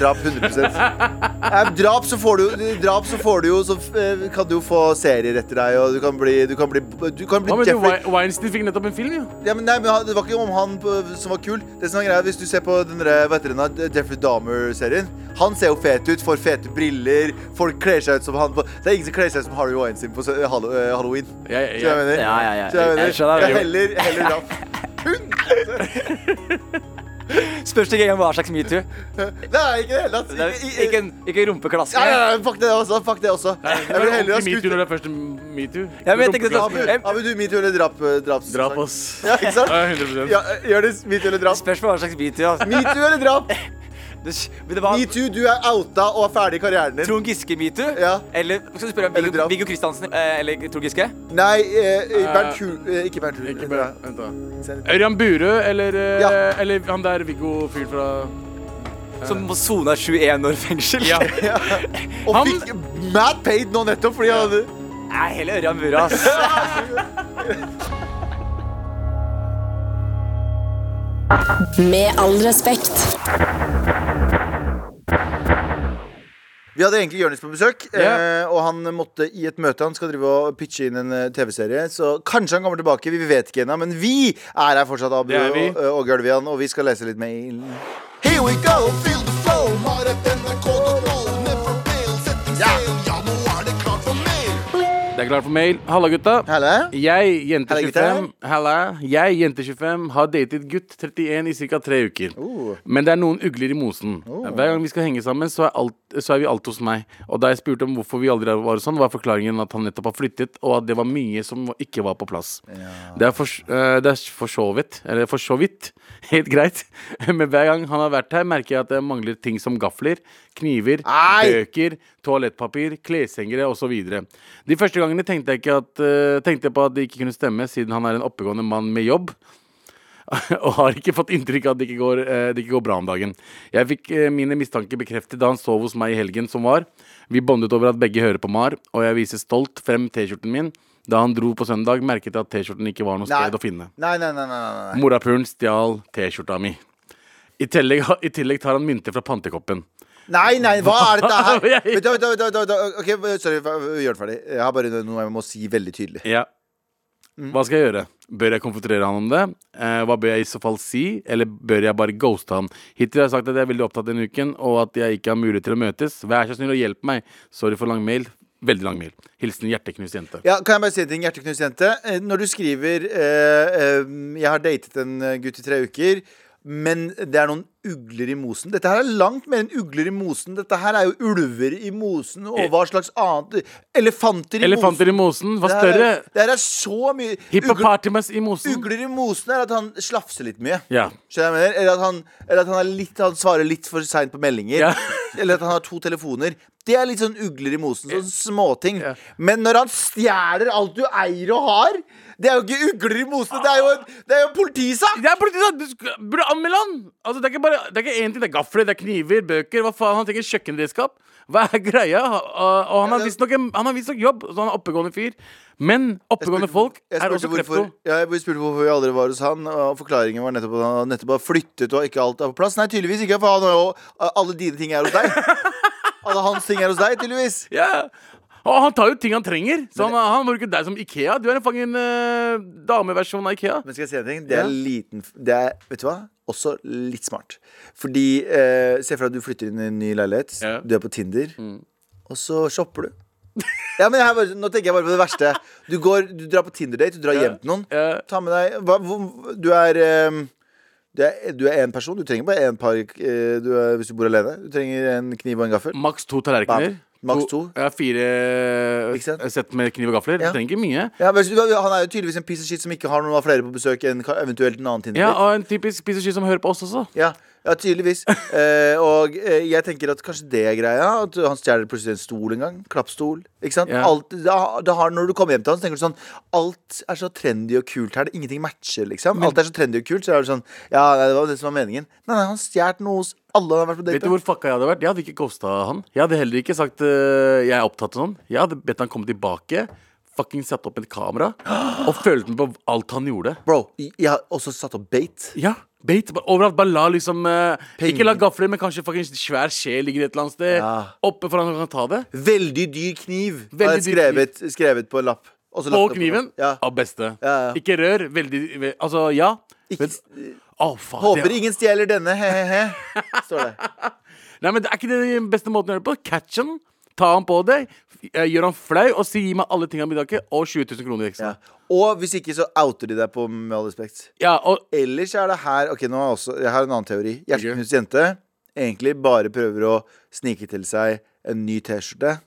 A: Drap 100 Nei, Drap så får du, drap så får du jo Så eh, kan du jo få serier etter deg, og du kan bli Du kan bli, du kan
B: Hva
A: bli
B: mener du?
A: Jeffrey
B: Wei- Weinstein fikk nettopp en film, jo.
A: ja, men nei, men han- Det var ikke om han på- som var kul. Det som er greia, Hvis du ser på den der, hva heter den da, Jeffrey Dahmer-serien Han ser jo fet ut, får fete briller, folk kler seg ut som han. på- Det er ingen som kler seg ut som Harry Weinstein på eh, Hall- eh, halloween.
B: Jeg,
A: Så jeg
B: jeg,
A: mener,
C: Ja, ja, ja.
A: Så jeg mener
C: Jeg skjønner det,
A: jeg
C: jo.
A: heller, heller drap.
C: Spørs ikke engang hva slags metoo.
A: Nei, ikke i det hele tatt.
C: Det er
A: Ikke,
C: Ikke, en- ikke en rumpeklaske.
A: Nei, nei, nei, fuck det også. Fuck det også. Jeg vil heller ha
B: Metoo
A: skutt
B: når det er første metoo.
C: Jeg vet ikke, det-
A: Abu, Abu, du, metoo eller drap? eh, draps-
B: Drap, ass.
A: Ja, ikke sant?
B: Ja, 100
A: Ja, eh, Jonis, metoo eller drap?
C: Spørs hva slags metoo. altså.
A: Metoo eller drap?
C: Det- men det var-
A: Metoo, du er outa og er ferdig i karrieren din.
C: Trond Giske metoo?
A: Ja.
C: Eller skal du spørre om
A: Eller
C: Viggo,
A: drap.
C: Viggo Kristiansen eh, eller Trond Giske?
A: Nei, eh, Bernt Hu... Eh, ikke Bernt Hu.
B: Ikke bare, vent da Ørjan Burøe eller, eh,
A: Ja.
B: eller han der Viggo fyren fra
C: Som må sone 21 år fengsel?
B: Ja.
A: Og
B: Han-
A: fikk mad paid nå nettopp fordi han hadde
C: Nei, hele Ørjan Burøe, ass.
A: Sånn
E: Med all respekt.
A: Vi hadde egentlig Jonis på besøk,
B: Ja.
A: eh, og han måtte i et møte. Han skal drive og pitche inn en eh, TV-serie, så kanskje han kommer tilbake. Vi vet ikke ennå, men vi er her fortsatt, Abu
B: Det er
A: og
B: vi.
A: eh, Åge Alvian, og vi skal lese litt mail. Here we go, feel the flow.
B: Det er klart for mail. Halla, gutta.
A: Helle?
B: Jeg, jente
A: Halla, gutter.
B: 25, Halla. Jeg, jente 25 har datet gutt 31 i ca. tre uker.
A: Oh.
B: Men det er noen ugler i mosen. Hver gang vi skal henge sammen, så er, alt, så er vi alt hos meg. Og da jeg spurte om hvorfor vi aldri var sånn, var forklaringen at han nettopp har flyttet, og at det var mye som ikke var på plass. Det er for, eh, det er for så vidt Eller for så vidt Helt greit Men hver gang han har vært her Merker jeg at det mangler ting som gaffler Kniver,
A: Nei!
B: bøker, toalettpapir Kleshengere og så videre De første gangene tenkte jeg, ikke at, eh, tenkte jeg på at det ikke kunne stemme Siden han er en oppegående mann med jobb og har ikke fått inntrykk av at det ikke går, eh, det ikke går bra om dagen. Jeg fikk eh, mine mistanker bekreftet da han sov hos meg i helgen som var. Vi bondet over at begge hører på Mar, og jeg viser stolt frem T-skjorten min. Da han dro på søndag, merket jeg at T-skjorten ikke var noe
A: Nei.
B: sted å finne.
A: Nei, nei, nei, nei, nei, nei.
B: Morapulen stjal T-skjorta mi. I tillegg, I tillegg tar han mynter fra pantekoppen.
A: Nei, nei, hva er dette her?
B: Hva? Jeg-
A: Vent, da, vent, da, vent, da, vent, da. Ok, Sorry, gjør den ferdig. Jeg har bare noe jeg må si veldig tydelig.
B: Ja.
A: Mm.
B: Hva skal jeg gjøre? Bør jeg konfrontere han om det? Eh, hva bør jeg i så fall si? Eller bør jeg bare ghoste han? Hittil har jeg sagt at jeg er veldig opptatt denne uken, og at jeg ikke har mulighet til å møtes. Vær så snill og hjelp meg. Sorry for lang mail. Veldig lang mail. Hilsen hjerteknust jente.
A: Ja, kan jeg bare si en ting, hjerteknust jente? Eh, Når du skriver eh, eh, 'Jeg har datet en eh, gutt i tre uker', men det er noen ugler i mosen Dette her er langt mer enn ugler i mosen. Dette her er jo ulver i mosen, og hva slags annet Elefanter i
B: Elefanter i
A: mosen.
B: mosen var
A: Det her
B: større.
A: er, det her er så mye Ugl-
B: Hippopartimus i mosen.
A: Ugler i mosen er at han slafser litt mye.
B: Ja.
A: Skjønner jeg hva jeg mener? Eller at han, eller at han, er litt, han svarer litt for seint på meldinger.
B: Ja.
A: Eller at han har to telefoner. De er litt sånn ugler i mosen. Sånn småting. Men når han stjeler alt du eier og har, det er jo ikke ugler i mosen. Det er jo, en- det er jo en politisak!
B: Det er politiet! Du sk- burde anmelde han! Altså, det er ikke bare Det er ikke én ting. Det er gafler, det er kniver, bøker. Hva faen? Han trenger kjøkkenredskap. Hva er greia? Og- Og han har visstnok en- han har visstnok jobb, så han er oppegående fyr. Men oppegående folk
A: Jeg
B: er også
A: spurte, hvorfor,
B: klepto.
A: ja, jeg spurte hvorfor vi aldri var hos han, og forklaringen var nettopp at han nettopp har flyttet og ikke alt er på plass. Nei, tydeligvis ikke, for han har jo alle dine ting er hos deg. Alle hans ting er hos deg, tydeligvis.
B: Ja. Og han tar jo ting han trenger. Så han, han bruker deg som Ikea. Du er en fangen eh, dameversjon av Ikea.
A: Men skal jeg si en ting? Det er
B: Ja.
A: liten det er, Vet du hva? Også litt smart. Fordi eh, Se for deg at du flytter inn i en ny leilighet.
B: Ja. Mm.
A: Du er på Tinder, og så shopper du. Ja, men her, var- Nå tenker jeg bare på det verste. Du, går, du drar på Tinder-date, du drar hjem til noen.
B: Ja.
A: Ta med deg hva, hvor, Du er eh, du er, du er en person, du trenger bare en par eh, du er, hvis du bor alene. Du trenger en kniv og en gaffel.
B: Maks to tallerkener.
A: Bam. Maks to.
B: Ja, fire
A: Ikke sant?
B: sett med kniv og gafler.
A: Ja.
B: Du trenger ikke mye.
A: Ja, men, han er jo tydeligvis en piece of shit som ikke har noen av flere på besøk enn ka- eventuelt en annen Tinder-date.
B: Ja, og en typisk piece of shit som hører på oss også.
A: Ja, ja tydeligvis. Eh, og eh, jeg tenker at kanskje det er greia. At han stjeler plutselig en stol en gang. Klappstol. Ikke sant?
B: Ja.
A: Alt, da, da har, når du kommer hjem til han, så tenker du sånn Alt er så trendy og kult her. det- Ingenting matcher, liksom. alt er så trendy og kult, så er det sånn Ja, nei, det var det som var meningen. Nei, nei, han stjal noe hos alle han har vært på date
B: Vet du hvor fucka jeg hadde vært? Jeg hadde ikke ghosta han. Jeg hadde heller ikke sagt eh, 'jeg er opptatt' og sånn. Jeg hadde bedt han komme tilbake, fucking satt opp et kamera og følte med på alt han gjorde.
A: Bro, jeg jeg har også satt opp bait.
B: Ja, bait bare overalt. Bare la liksom eh,
A: Penger.
B: Ikke la gafler, men kanskje fucking svær skje ligger et eller annet sted
A: Ja.
B: oppe for han kan ta det.
A: Veldig dyr kniv.
B: Veldig
A: har jeg
B: dyr kniv.
A: skrevet, skrevet på en lapp. Og så
B: På
A: lagt opp-
B: kniven.
A: Ja.
B: Av beste.
A: Ja, ja.
B: Ikke rør. Veldig ve- Altså, ja.
A: Ikke,
B: Men- Å, faen,
A: håper
B: det,
A: ingen stjeler denne, he-he-he, står det.
B: Nei, men det er ikke den beste måten å gjøre det på. Catch han. Ta han på deg. f- eh, Gjør han flau, og si 'gi meg alle tingene i middagen', og 20 000 kroner
A: Ja.
B: ekstra.
A: Og hvis ikke, så outer de deg på Med all respekt.
B: Ja, og
A: Ellers er det her Ok, nå har jeg også Jeg har en annen teori. Hjerteknust jente egentlig bare prøver å snike til seg en ny T-skjorte.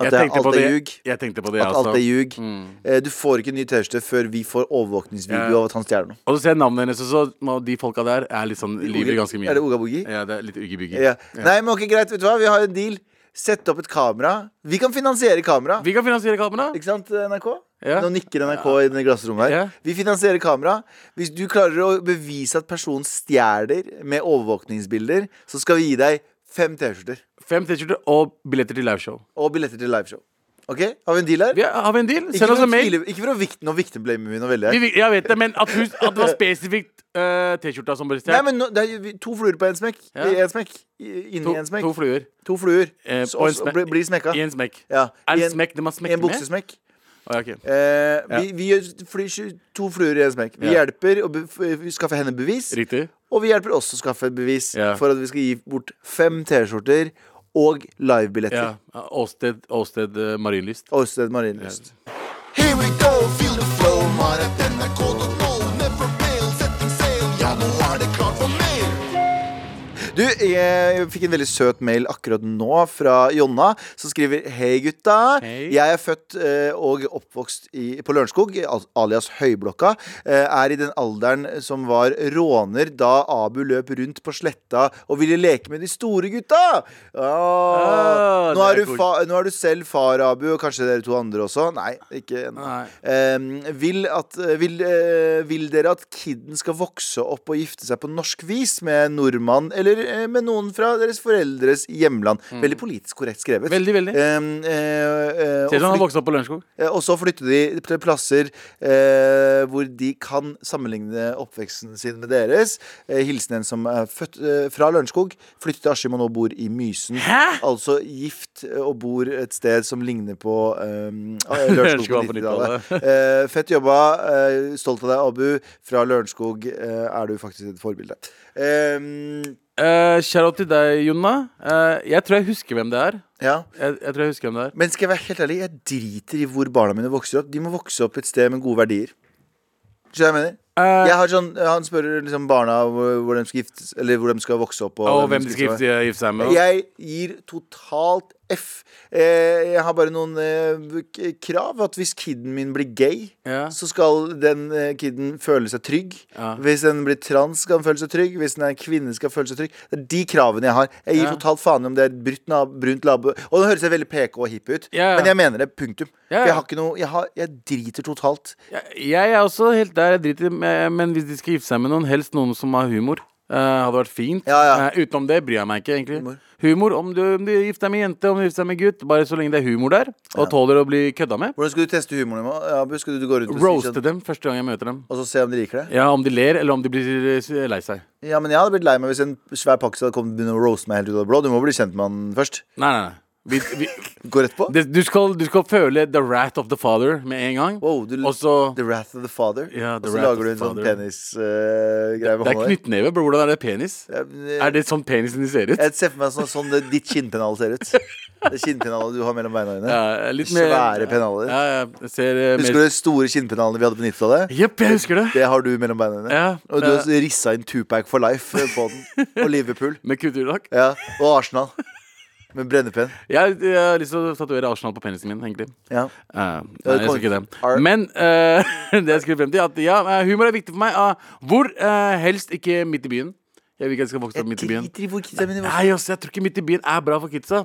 A: At
B: jeg
A: det,
B: tenkte
A: alt
B: på
A: er
B: det.
A: ljug.
B: Jeg tenkte på det,
A: At alt er
B: altså.
A: ljug. Eh, Du får ikke en ny T-skjorte før vi får overvåkningsvideo
B: Ja.
A: av at han stjeler noe.
B: Og så ser jeg navnet hennes, og så de folka der er litt sånn lyver ganske mye.
A: Er det Oga Boogie?
B: Ja, det er litt uggebygge.
A: Ja. Nei, men ok, greit. Vet du hva? Vi har en deal. Sett opp et kamera. Vi kan finansiere kamera.
B: Vi kan finansiere kamera.
A: Ikke sant, NRK?
B: Ja.
A: Nå nikker NRK i det glassrommet her.
B: Ja.
A: Vi finansierer kamera. Hvis du klarer å bevise at personen stjeler med overvåkningsbilder, så skal vi gi deg fem T-skjorter
B: Fem T-skjorter og billetter til liveshow.
A: og billetter til liveshow. Ok? Har vi en deal her?
B: Vi har, har vi en deal?
A: Ikke
B: Send oss
A: for, å
B: en mail.
A: tvile- ikke for å vikte noe victim-blame vi noe veldig
B: Vi,
A: her.
B: vi- jeg vet det, men at, hun, at det var spesifikt eh, T-skjorta som ble
A: Nei,
B: stjålet.
A: men nå- det er jo to fluer på én smekk.
B: Ja.
A: I en smekk. I- Inni
B: To,
A: en smekk.
B: to fluer
A: To fluer.
B: eh,
A: Så-
B: på en
A: så
B: smekk.
A: blir- blir smekka.
B: I en smekk.
A: Ja.
B: Er
A: I
B: det
A: en-
B: smekk det man
A: I en
B: smekker med?
A: buksesmekk.
B: Å, ja, ok.
A: Eh, vi, vi gjør fly, to fluer i en smekk. Vi
B: Ja.
A: hjelper å be- f- skaffe henne bevis.
B: Riktig.
A: Og vi hjelper også å skaffe bevis
B: Ja.
A: for at vi skal gi bort fem T-skjorter og
B: Ja.
A: livebilletter.
B: Åsted, Åsted eh, Marienlyst.
A: Åsted Marienlyst.
F: Here we go, feel the flow. Marit NRK.no, never fail, setting sail. Ja, nå er det klart for mer.
A: Du, jeg fikk en veldig søt mail akkurat nå fra Jonna, som skriver Hei, gutta.
B: Hei.
A: Jeg er født eh, og oppvokst i, på Lørenskog, al- alias Høyblokka. Eh, er i den alderen som var råner da Abu løp rundt på sletta og ville leke med de store gutta. Ah,
B: Ah,
A: nå, er
B: det
A: du
B: er cool.
A: fa, nå er du selv far, Abu, og kanskje dere to andre også. Nei, ikke ennå.
B: Nei.
A: Ehm, vil, at, vil, eh, vil dere at kidden skal vokse opp og gifte seg på norsk vis med en nordmann eller eh, med noen fra deres foreldres hjemland? Veldig politisk korrekt skrevet.
B: Mm. Veldig, veldig.
A: Ehm, eh, eh,
B: Ser du han
A: og
B: har
A: flyt-
B: vokst opp på Lørenskog?
A: eh, og så flytter de til plasser eh, hvor de kan sammenligne oppveksten sin med deres. Eh, hilsen en som er født eh, fra Lørenskog, flyttet til Askim og nå bor i Mysen.
B: Hæ?
A: Altså gift eh, og bor et sted som ligner på eh, Lørenskog på 90-tallet. Eh, fett jobba. Eh, stolt av deg, Abu. Fra Lørenskog eh, er du faktisk et forbilde. Eh,
B: Uh, Shout-out til deg, Jonna. Eh, jeg tror jeg husker hvem det er.
A: ja
B: Jeg, jeg tror jeg husker hvem det er
A: Men skal jeg være helt ærlig, jeg driter i hvor barna mine vokser opp. De må vokse opp et sted med gode verdier. Skjønner du hva jeg mener?
B: Eh,
A: Jeg har sånn, han spør liksom barna hvor, hvor, de skal giftes, eller hvor de skal vokse opp.
B: Og hvem de skal
A: gifte
B: gifte gifte seg med.
A: Jeg gir totalt F. Eh, jeg har bare noen eh, k- krav. At hvis kiden min blir gay,
B: Ja.
A: så skal den eh, kiden føle seg trygg.
B: Ja.
A: Hvis den blir trans, skal den føle seg trygg. Hvis den er kvinne, skal den føle seg trygg. Det er de kravene jeg har. Jeg gir
B: Ja.
A: totalt faen i om det er brutt nab brunt labo Og nå høres jeg veldig PK og hipp ut,
B: Ja, ja.
A: men jeg mener det. Punktum.
B: Ja, ja.
A: For jeg har ikke noe Jeg, har, jeg driter totalt.
B: Jeg, jeg er også helt der, jeg driter i men- Men hvis de skal gifte seg med noen, helst noen som har humor. eh, hadde vært fint.
A: Ja, ja.
B: Eh, utenom det bryr jeg meg ikke, egentlig. Humor,
A: Humor.
B: om, du, om du gifter deg med jente, om du gifter deg med gutt, bare så lenge det er humor der, og tåler å bli kødda med.
A: Hvordan skal du teste humoren din? Abu? Skal du gå rundt og si
B: Roaste
A: sånn,
B: dem første gang jeg møter dem.
A: og så se om de liker det?
B: Ja, Om de ler, eller om de blir eh, lei seg.
A: Ja, men Jeg hadde blitt lei meg hvis en svær pakkis hadde kommet og begynt å roaste meg helt ut av det blå. Du må bli kjent med han først.
B: Nei, nei, nei. Vi, vi,
A: Gå rett på.
B: det, du, skal, du skal føle the wrath of the father med en gang.
A: Wow, du,
B: og så
A: The Wrath of the Father.
B: Ja,
A: og
B: The
A: så
B: Wrath
A: lager
B: of
A: du en
B: the
A: sånn
B: Father.
A: penisgreie
B: Det er knyttneve, bro. Hvordan er det penis? Er det sånn penisen de ser ut?
A: eh, Jeg ser for meg sånn, sånn det, ditt kinnpennal ser ut. Det kinnpennalet du har mellom beina dine.
B: Ja, litt mer
A: Svære pennaler.
B: Ja, ja, jeg ser eh,
A: Husker du
B: mer
A: de store kinnpennalene vi hadde på 90-tallet?
B: Jepp, jeg husker det.
A: Det har du mellom beina dine.
B: Ja,
A: og du
B: ja.
A: har rissa inn Tupac for life eh, på den. Og Liverpool.
B: Med kulturdag.
A: Ja, og Arsenal. Med brennepenn.
B: Jeg, jeg har lyst til å tatovere Arsenal på penisen min, egentlig.
A: Ja.
B: Eh,
A: Ja,
B: nei,
A: det
B: jeg skal ikke
A: kommer-
B: det.
A: Ar-
B: Men eh, det jeg skulle frem til, er at ja, eh, humor er viktig for meg. eh, hvor eh, helst ikke midt i byen. Jeg vil ikke at jeg skal vokse opp midt i byen.
A: i hvor kidsa mine
B: Nei, ass, jeg tror ikke midt i byen er bra for kidsa.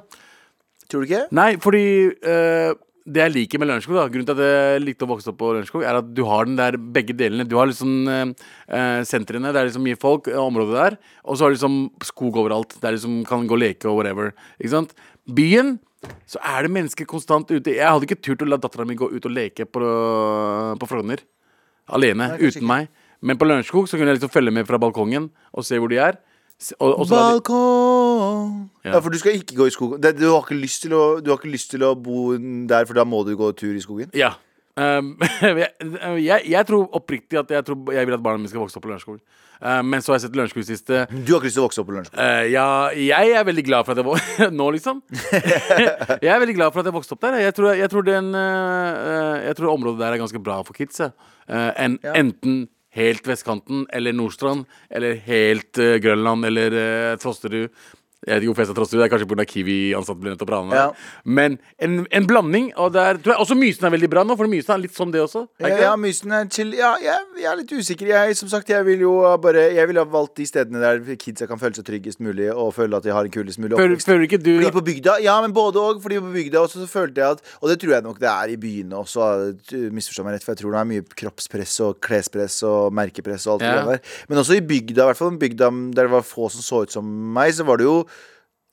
A: Tror du ikke?
B: Nei, fordi eh, det jeg liker med Lørenskog, da grunnen til at jeg likte å vokse opp på Lørenskog, er at du har den der begge delene. Du har liksom eh, eh, sentrene, det er liksom mye folk, eh, området der, og så har du liksom skog overalt. Der liksom kan gå og leke og whatever. Ikke sant? Byen så er det mennesker konstant ute. Jeg hadde ikke turt å la dattera mi gå ut og leke på, på Frogner. Alene.
A: Nei, kanskje
B: uten
A: ikke.
B: meg. Men på Lørenskog så kunne jeg liksom følge med fra balkongen og se hvor de er. S- Og, og så la de-
A: Balkong
B: Ja.
A: ja. for du skal ikke gå i skogen. Det, du, har ikke lyst til å, du har ikke lyst til å bo der, for da må du gå tur i skogen.
B: Ja. Um, jeg, jeg, jeg tror oppriktig at jeg, tror jeg vil at barna mine skal vokse opp på Lørenskog. Uh, men så har jeg sett Lørenskog i det siste.
A: Du har ikke lyst til å vokse opp på lunsj.
B: Uh, ja, jeg er veldig glad for at jeg vokste Nå, liksom. jeg er veldig glad for at jeg vokste opp der. Jeg tror, jeg tror, den, uh, jeg tror området der er ganske bra for kids. jeg. Uh, en,
A: Ja.
B: Enten helt vestkanten eller Nordstrand, eller helt uh, Grønland eller uh, Trosterud. Jeg vet ikke hvorfor jeg sa Trosterud, det er kanskje pga. Kiwi-ansatte ble nettopp ranet.
A: Ja.
B: Men en, en blanding. Og der tror jeg også Mysen er veldig bra nå, for Mysen er litt sånn det også. Er
A: Ja,
B: ikke det?
A: ja, mysen er chill. Ja, jeg, jeg er litt usikker. Jeg, som sagt, jeg vil jo bare Jeg vil ha valgt de stedene der kidsa kan føle seg tryggest mulig, og føle at de har en kulest mulig
B: Føler,
A: oppvekst.
B: føler ikke du
A: Fordi på bygda, ja, men både og Fordi på bygda også så følte jeg at Og det tror jeg nok det er i byene også eh, Misforstå meg rett, for jeg tror det er mye kroppspress Og klespress og merkepress og alt
B: Ja.
A: det der Men også i bygda, i hvert fall bygda Der det var få som så ut som meg Så var det jo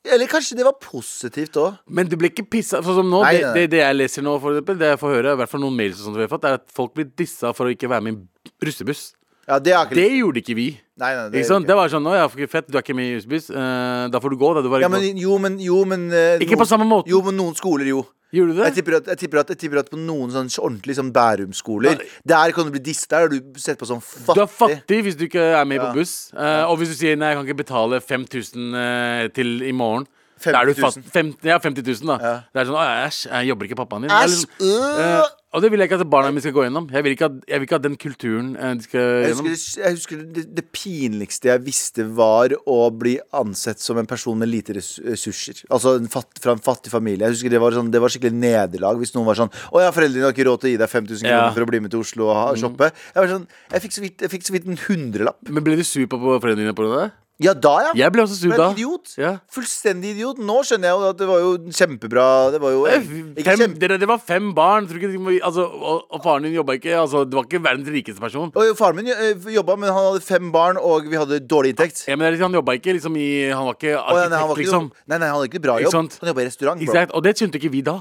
A: Eller kanskje det var positivt også
B: Men du ble ikke pissa Sånn som nå,
A: Nei,
B: det,
A: nei.
B: det, det jeg leser nå, for eksempel, det jeg får høre, i hvert fall noen mails og sånt vi har fått, er at folk blir dissa for å ikke være med i russebuss.
A: Ja, det er ikke
B: Det gjorde ikke vi.
A: Nei, nei, det
B: Ikke sant? Det var sånn, nå, ja, fett, du er ikke med i russebuss, eh, da får du gå. Da, du var
A: ja,
B: ikke
A: men,
B: med».
A: jo, men, jo, men eh,
B: Ikke på
A: noen-
B: samme måten.
A: Jo, men noen skoler jo
B: Gjorde du
A: jeg
B: det?
A: tipper, at, jeg, tipper at, jeg tipper at på noen sånn ordentlig sånn Bærum-skoler
B: Nei.
A: Der kan du bli disset, der er du sett på som fattig
B: Du er fattig hvis du ikke er med
A: Ja.
B: på buss. Eh, og hvis du sier nei, jeg kan ikke betale 5000 eh, til i morgen. Da er du
A: 50 000.
B: fatt, fem, ja, 50 000, da.
A: Ja.
B: Det er sånn «Å, Æsj, jeg jobber ikke pappaen din. Det er
A: Æsj,
B: liksom-
A: øh!
B: Eh, og det vil jeg ikke at barna mine skal gå gjennom. Jeg vil ikke at, jeg vil ikke at den kulturen eh, de skal
A: Jeg
B: gjennom.
A: husker, det, jeg husker det, det pinligste jeg visste var å bli ansett som en person med lite ress- ressurser. Altså en fatt, fra en fattig familie. Jeg husker Det var, sånn, det var skikkelig nederlag hvis noen var sånn Å ja, foreldrene har ikke råd til å gi deg 5000 kroner
B: Ja. Mm.
A: for å bli med til Oslo og ha, shoppe. Jeg, var sånn, jeg, fikk så vidt, jeg fikk så vidt en hundrelapp.
B: Men ble du sur på på foreldrene dine på det? der?
A: Ja, da, ja.
B: Jeg ble også sur
A: Jeg
B: da.
A: ble en idiot.
B: Ja.
A: Fullstendig idiot. Nå skjønner jeg jo at det var jo kjempebra. Det var jo ikke
B: Eh, Fem,
A: kjempe...
B: det, det var fem barn. Tror ikke, de må- altså, og, og faren din jobba ikke. Altså, det var ikke verdens rikeste person.
A: Og faren min eh, jobba, men han hadde fem barn, og vi hadde dårlig inntekt.
B: Ja, men det er liksom, han jobba ikke liksom, i Han var
A: Å,
B: ikke
A: ja,
B: arkitekt,
A: nei, han var ikke
B: liksom.
A: noe- nei, nei, han hadde ikke bra
B: Ikke
A: jobb.
B: sant?
A: Han jobba i restaurant. Bro.
B: Ikke sant? Og det skjønte ikke vi da.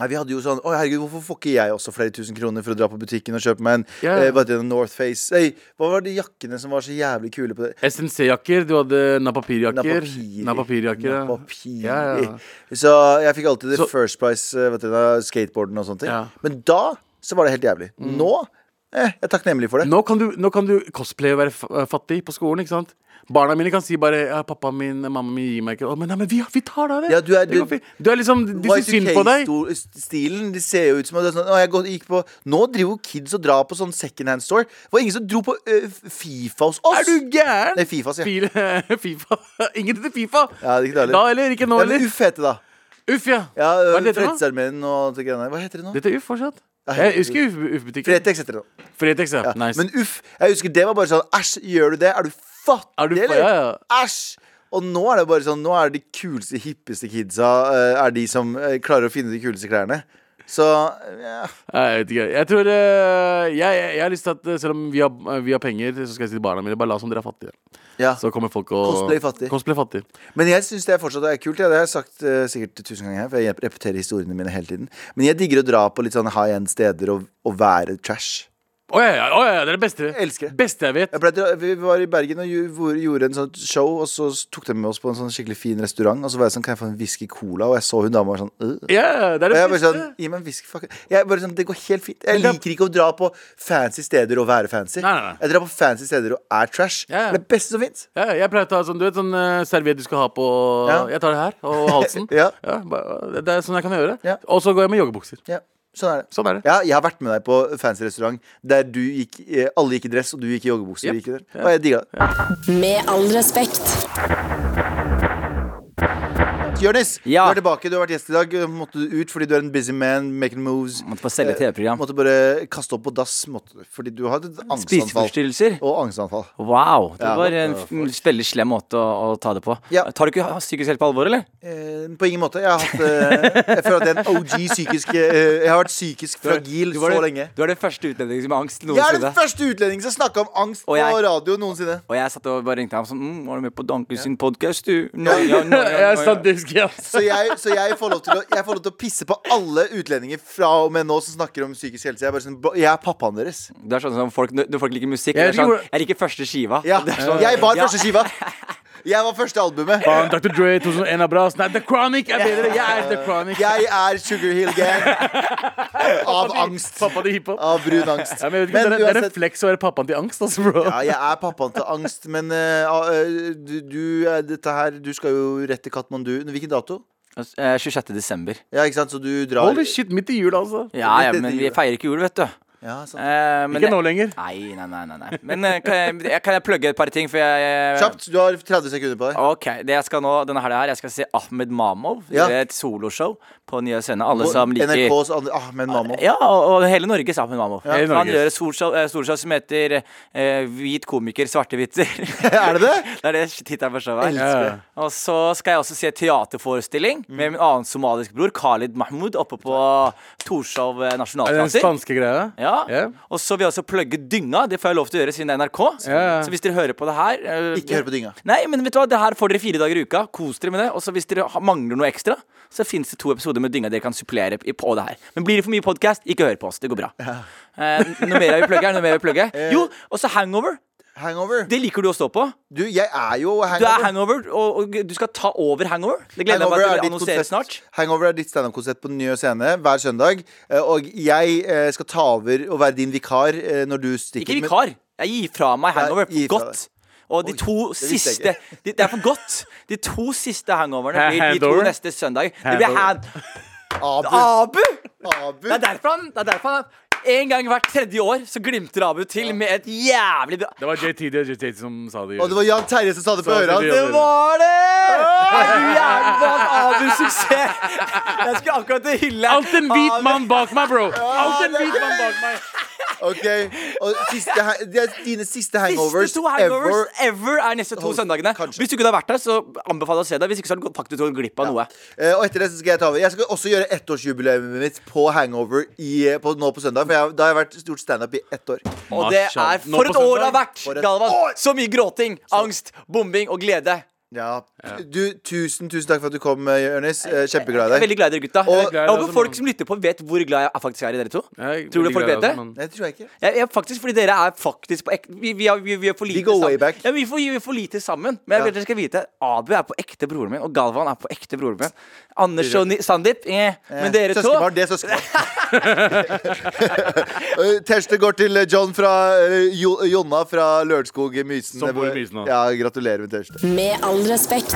A: Nei, vi hadde jo sånn Å herregud, hvorfor får ikke jeg også flere tusen kroner for å dra på butikken og kjøpe meg en
B: Ja.
A: eh, hva heter det, Northface? Hey, hva var de jakkene som var så jævlig kule på det?
B: SNC-jakker, du hadde napapir-jakker.
A: Napapiri.
B: Napapir-jakker. ja.
A: Napapiri.
B: Ja, ja.
A: Så jeg fikk alltid
B: Så-
A: det First Price, eh, vet du, da, skateboarden og sånne ting.
B: Ja. Mm.
A: Men da så var det helt jævlig. Nå eh, jeg er takknemlig for det.
B: Nå kan, du, nå kan du cosplaye og være fa- eh, fattig på skolen, ikke sant? Barna mine kan si bare ja, 'Pappa min, mamma min gir meg ikke' Å, men, nei, men vi, vi tar da det!
A: Ja, du er-
B: det går
A: du-
B: fint. du er liksom De syns synd på deg.
A: Y2K-stilen, de ser jo ut som at det er sånn, å, jeg går- gikk på, Nå driver jo kids og drar på sånn second hand store. Det var ingen som dro på eh, Fifa hos oss.
B: Er du gæren?
A: Nei, Fifa, sier jeg.
B: Fil- FIFA. Ingen til Fifa.
A: Ja, det er ikke dårlig.
B: Da eller ikke nå
A: Ja, men
B: heller.
A: Uff heter det da.
B: Uff, ja.
A: Ja,
B: Hva er dette for noe?
A: Frelsesarmeen og alt det greiene der. Hva heter det nå?
B: Dette er Uff fortsatt.
A: Ja,
B: Jeg
A: herregud.
B: husker Uff-butikken.
A: Fretex heter det nå.
B: Fretex, ja.
A: Ja.
B: Nice.
A: Men uff, jeg husker det var bare sånn Æsj, gjør du det? Er du fattig,
B: Er du fa-
A: eller?
B: ja, ja.
A: Æsj! Og nå er det bare sånn Nå er det de kuleste, hippeste kidsa eh, Er de som eh, klarer å finne de kuleste klærne. Så øh, ja.
B: Nei, Jeg vet ikke. Jeg tror eh, jeg, jeg, jeg har lyst til at eh, selv om vi har, eh, vi har penger, så skal jeg si til barna mine bare la som dere er fattige.
A: ja.
B: Så kommer folk og
A: Cosplay fattig.
B: Cosplay fattig.
A: Men jeg syns det fortsatt er kult. Ja. Det har jeg sagt eh, sikkert tusen ganger her, for jeg repeterer historiene mine hele tiden. Men jeg digger å dra på litt sånn high end steder og, og være trash.
B: Å ja, ja, å, ja, ja, det er det beste.
A: Elsker det.
B: Beste jeg vet.
A: Jeg ble, dra- vi var i Bergen og ju- hvor- gjorde en sånn show, og så tok de med oss på en sånn skikkelig fin restaurant. Og så var jeg sånn, kan jeg få en whisky cola? Og jeg så hun dama var sånn øh.
B: Ja, ja, det er
A: Og
B: det
A: jeg bare
B: beste.
A: sånn, gi meg en whisky, fuck. Jeg bare sånn, det går helt fint. Jeg liker ikke å dra på fancy steder og være fancy.
B: Nei, nei, nei.
A: Jeg drar på fancy steder og er trash.
B: Ja, ja.
A: Det er det beste som fins.
B: Ja, jeg pleier å ta sånn, du vet, sånn eh, serviett du skal ha på
A: Ja.
B: Jeg tar det her, og halsen.
A: Ja.
B: bare- det, det er sånn jeg kan gjøre.
A: Ja.
B: Og så går jeg med joggebukser.
A: Ja, sånn er det.
B: Sånn er det.
A: Ja, jeg har vært med deg på fancy restaurant der du gikk, eh, alle gikk i dress, og du gikk i joggebukse.
B: Yep.
A: og gikk i det. Og jeg digga det.
E: Med all respekt.
A: Jonis,
C: Ja.
A: du er tilbake. Du har vært gjest i dag. Måtte du ut fordi du er en busy man, making moves.
C: Måtte på selge TV-program.
A: Måtte bare kaste opp på dass måtte, du, fordi du hadde et angstanfall.
C: Spiseforstyrrelser.
A: Og angstanfall.
C: Wow. Det
A: Ja,
C: var
A: what
C: en
A: the
C: f- veldig slem måte å, å ta det på.
A: Ja.
C: Tar du ikke psykisk helt på alvor, eller?
A: Eh, på ingen måte. Jeg har hatt eh, Jeg føler at jeg er en OG psykisk eh, Jeg har vært psykisk fragil
C: Du var
A: så
C: den-
A: lenge.
C: Du er den første utlendingen med angst
A: Jeg er den
C: noensinne.
A: første utlendingen som snakka om angst
C: Og jeg-
A: på radio noensinne.
C: Og jeg satt og bare ringte ham sånn mm, 'Var du med på Danke sin podkast, du?' No,
B: Jeg er
A: sånn-
B: sadisk, ja.
A: Så jeg, så jeg, får lov til å, jeg får lov til å pisse på alle utlendinger fra og med nå som snakker om psykisk helse. Jeg er, bare sånn, ba- jeg er pappaen deres.
C: Det er sånn som folk, når folk liker musikk.
B: Jeg vet
C: Jeg, er sånn,
B: ikke hvor-
C: jeg liker første skiva.
A: Ja,
C: Det er sånn-
A: jeg var
C: Ja.
A: første skiva. Jeg var første albumet.
B: Faen, Dr. Dre 2001 er bra. ass. Nei, The Chronic er bedre. Jeg er The Chronic.
A: Jeg er Sugar Hill Gang. Av angst.
B: Pappa til hiphop.
A: Av brun angst.
B: Ja, men jeg vet ikke, det, er, det er en
A: uansett-
B: flex å være pappaen til angst, altså, bro.
A: ja, jeg er pappaen til angst, men eh, ah, eh, du, du, eh, dette her, du skal jo rett til Katmandu. Hvilken dato?
C: Eh, 26. desember.
A: Ja, ikke sant? Så du drar
B: Holy shit, midt i jul, altså.
C: Ja, ja,
A: Litt
C: men
A: etter
C: vi
A: jul.
C: feirer ikke jul, vet du.
A: Ja, sant.
C: Eh, men
B: Ikke nå lenger.
C: Nei, nei, nei. nei, nei. Men eh, kan jeg, kan jeg plugge et par ting? For jeg eh,
A: Kjapt, du har 30 sekunder på deg.
C: Ok, det jeg skal nå denne helga her, jeg skal se Ahmed Mamov.
A: Ja.
C: Det er et soloshow på Nye Scene. Alle som liker
A: NRKs andre Ah, Ahmed Mammo.
C: Ja, og, og hele Norges Ahmed Mamov.
B: Hele
C: Han
B: Norges.
C: gjør et solshow, eh, solshow som heter eh, Hvit komiker, svarte vitser.
A: Er det det?
C: Det er det tittelen på showet.
B: Ja.
C: er. Og så skal jeg også se teaterforestilling
A: Mm.
C: med min annen somalisk bror, Khalid Mahmoud, oppe på Torshov eh,
B: Er det den
C: nasjonalteater.
B: spanske greia?
C: Ja.
B: Ja.
C: Og så vil jeg også plugge Dynga. Det får jeg lov til å gjøre siden det er NRK.
B: Ja.
C: Så hvis dere hører på det her eh,
A: Ikke hør på dynga.
C: Nei, men vet du hva, det her får dere fire dager i uka. Kos dere med det. Og så hvis dere ha- mangler noe ekstra, så fins det to episoder med Dynga dere kan supplere i- på det her. Men blir det for mye podkast, ikke hør på oss. Det går bra. Eh, noe mer jeg vil plugge her? Noe mer jeg vil plugge? Jo, og så Hangover.
A: Hangover.
C: Det liker du å stå på.
A: Du, jeg er jo
C: Du er
A: hangover.
C: hangover, og, og du skal ta over hangover. Det gleder jeg meg
A: Hangover
C: til
A: er
C: å
A: ditt
C: annonsere
A: konsert-
C: snart.
A: Hangover er ditt standup-konsert på Nye Scene hver søndag. eh, Og jeg eh, skal ta over og være din vikar eh, når du stikker.
C: Ikke
A: men-
C: vikar. Jeg gir fra meg hangover.
A: Ja, gi
C: For
A: fra
C: godt. Og de
A: Oi,
C: to
A: det visste
C: siste
A: jeg
C: de, Det er for godt. De to siste hangoverne
B: Ha-
C: blir de to
B: handover?
C: neste søndag. Det blir hand...
A: Abu.
C: Abu!
A: Abu.
C: Ah, Det er derfor han, det er derfor han En gang hvert tredje år så glimter Abu til med et jævlig bra
B: Det var JTD og JTD som sa det.
A: Og det var Jan Terje som sa det på
B: Så
A: øret
B: sitter
A: hans.
B: vi
C: Det var det! Jævlig bra Abu-suksess! Jeg skulle akkurat til å hylle
B: Alt en hvit
C: Abu.
B: mann bak meg, bro! Alt en
A: det er
B: hvit mann bak meg.
A: Ok, og siste, ha- det er dine siste hangovers,
C: Siste to hangovers
A: ever.
C: ever, er neste to
A: Hold-
C: søndagene.
A: kanskje.
C: Hvis du ikke hadde vært der, så anbefaler jeg å se deg. Hvis ikke så har du gått- faktisk gått glipp av noe.
A: Eh, og etter det så skal jeg ta over. Jeg skal også gjøre ettårsjubileet mitt på hangover i, eh, på, nå på søndag. For jeg, da har jeg vært stort standup i ett år.
C: Og det
B: Marshall.
C: er
B: Nå
C: for
B: på
C: et år
B: søndag.
C: det har vært,
A: For et
C: Galvan. Så mye gråting, angst, bombing og glede.
A: Ja. Du, tusen, tusen takk for at du kom, eh, Jonis. Eh,
C: Jeg
A: Kjempeglad
C: er
A: i deg.
C: veldig glad i dere, gutta.
A: Og-
C: jeg
B: Jeg er glad i dere
C: håper
B: også,
C: folk
B: mann.
C: som lytter på, vet hvor glad jeg faktisk er i dere to.
B: Jeg er
C: Tror du
B: veldig glad
C: folk
B: i
C: vet det?
B: deg, mann.
A: Nei, det tror jeg ikke.
C: Jeg, jeg faktisk, fordi dere er faktisk på ekte Vi, vi, har- vi, vi er for lite
A: go way
C: sammen.
A: back.
C: Ja, vi, er for, vi er for lite sammen. Men jeg
A: Ja.
C: vil dere skal vite Abu er på ekte broren min, og Galvan er på ekte broren min. Anders og Ni- Sandeep, eh. men dere to
A: Søskenbarn, det er søskenbarn. Eh, Teste går til John fra eh, jo, Jonna fra Lørenskog Mysen.
B: Som bor i Mysen nå.
A: Ja, gratulerer med Teste.
E: Med all respekt.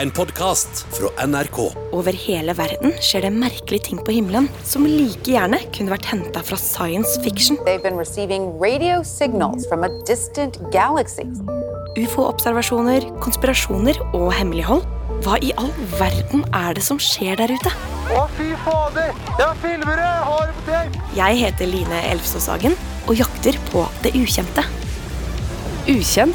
G: En podcast fra NRK.
H: Over hele verden skjer det merkelige ting på himmelen som like gjerne kunne vært henta fra science fiction.
I: They've been receiving radio signals from a distant galaxy.
H: Ufo-observasjoner, konspirasjoner og hemmelighold. Hva i all verden er det som skjer der ute? Jeg heter Line Elfsåshagen og jakter på det ukjente.
D: Ukjent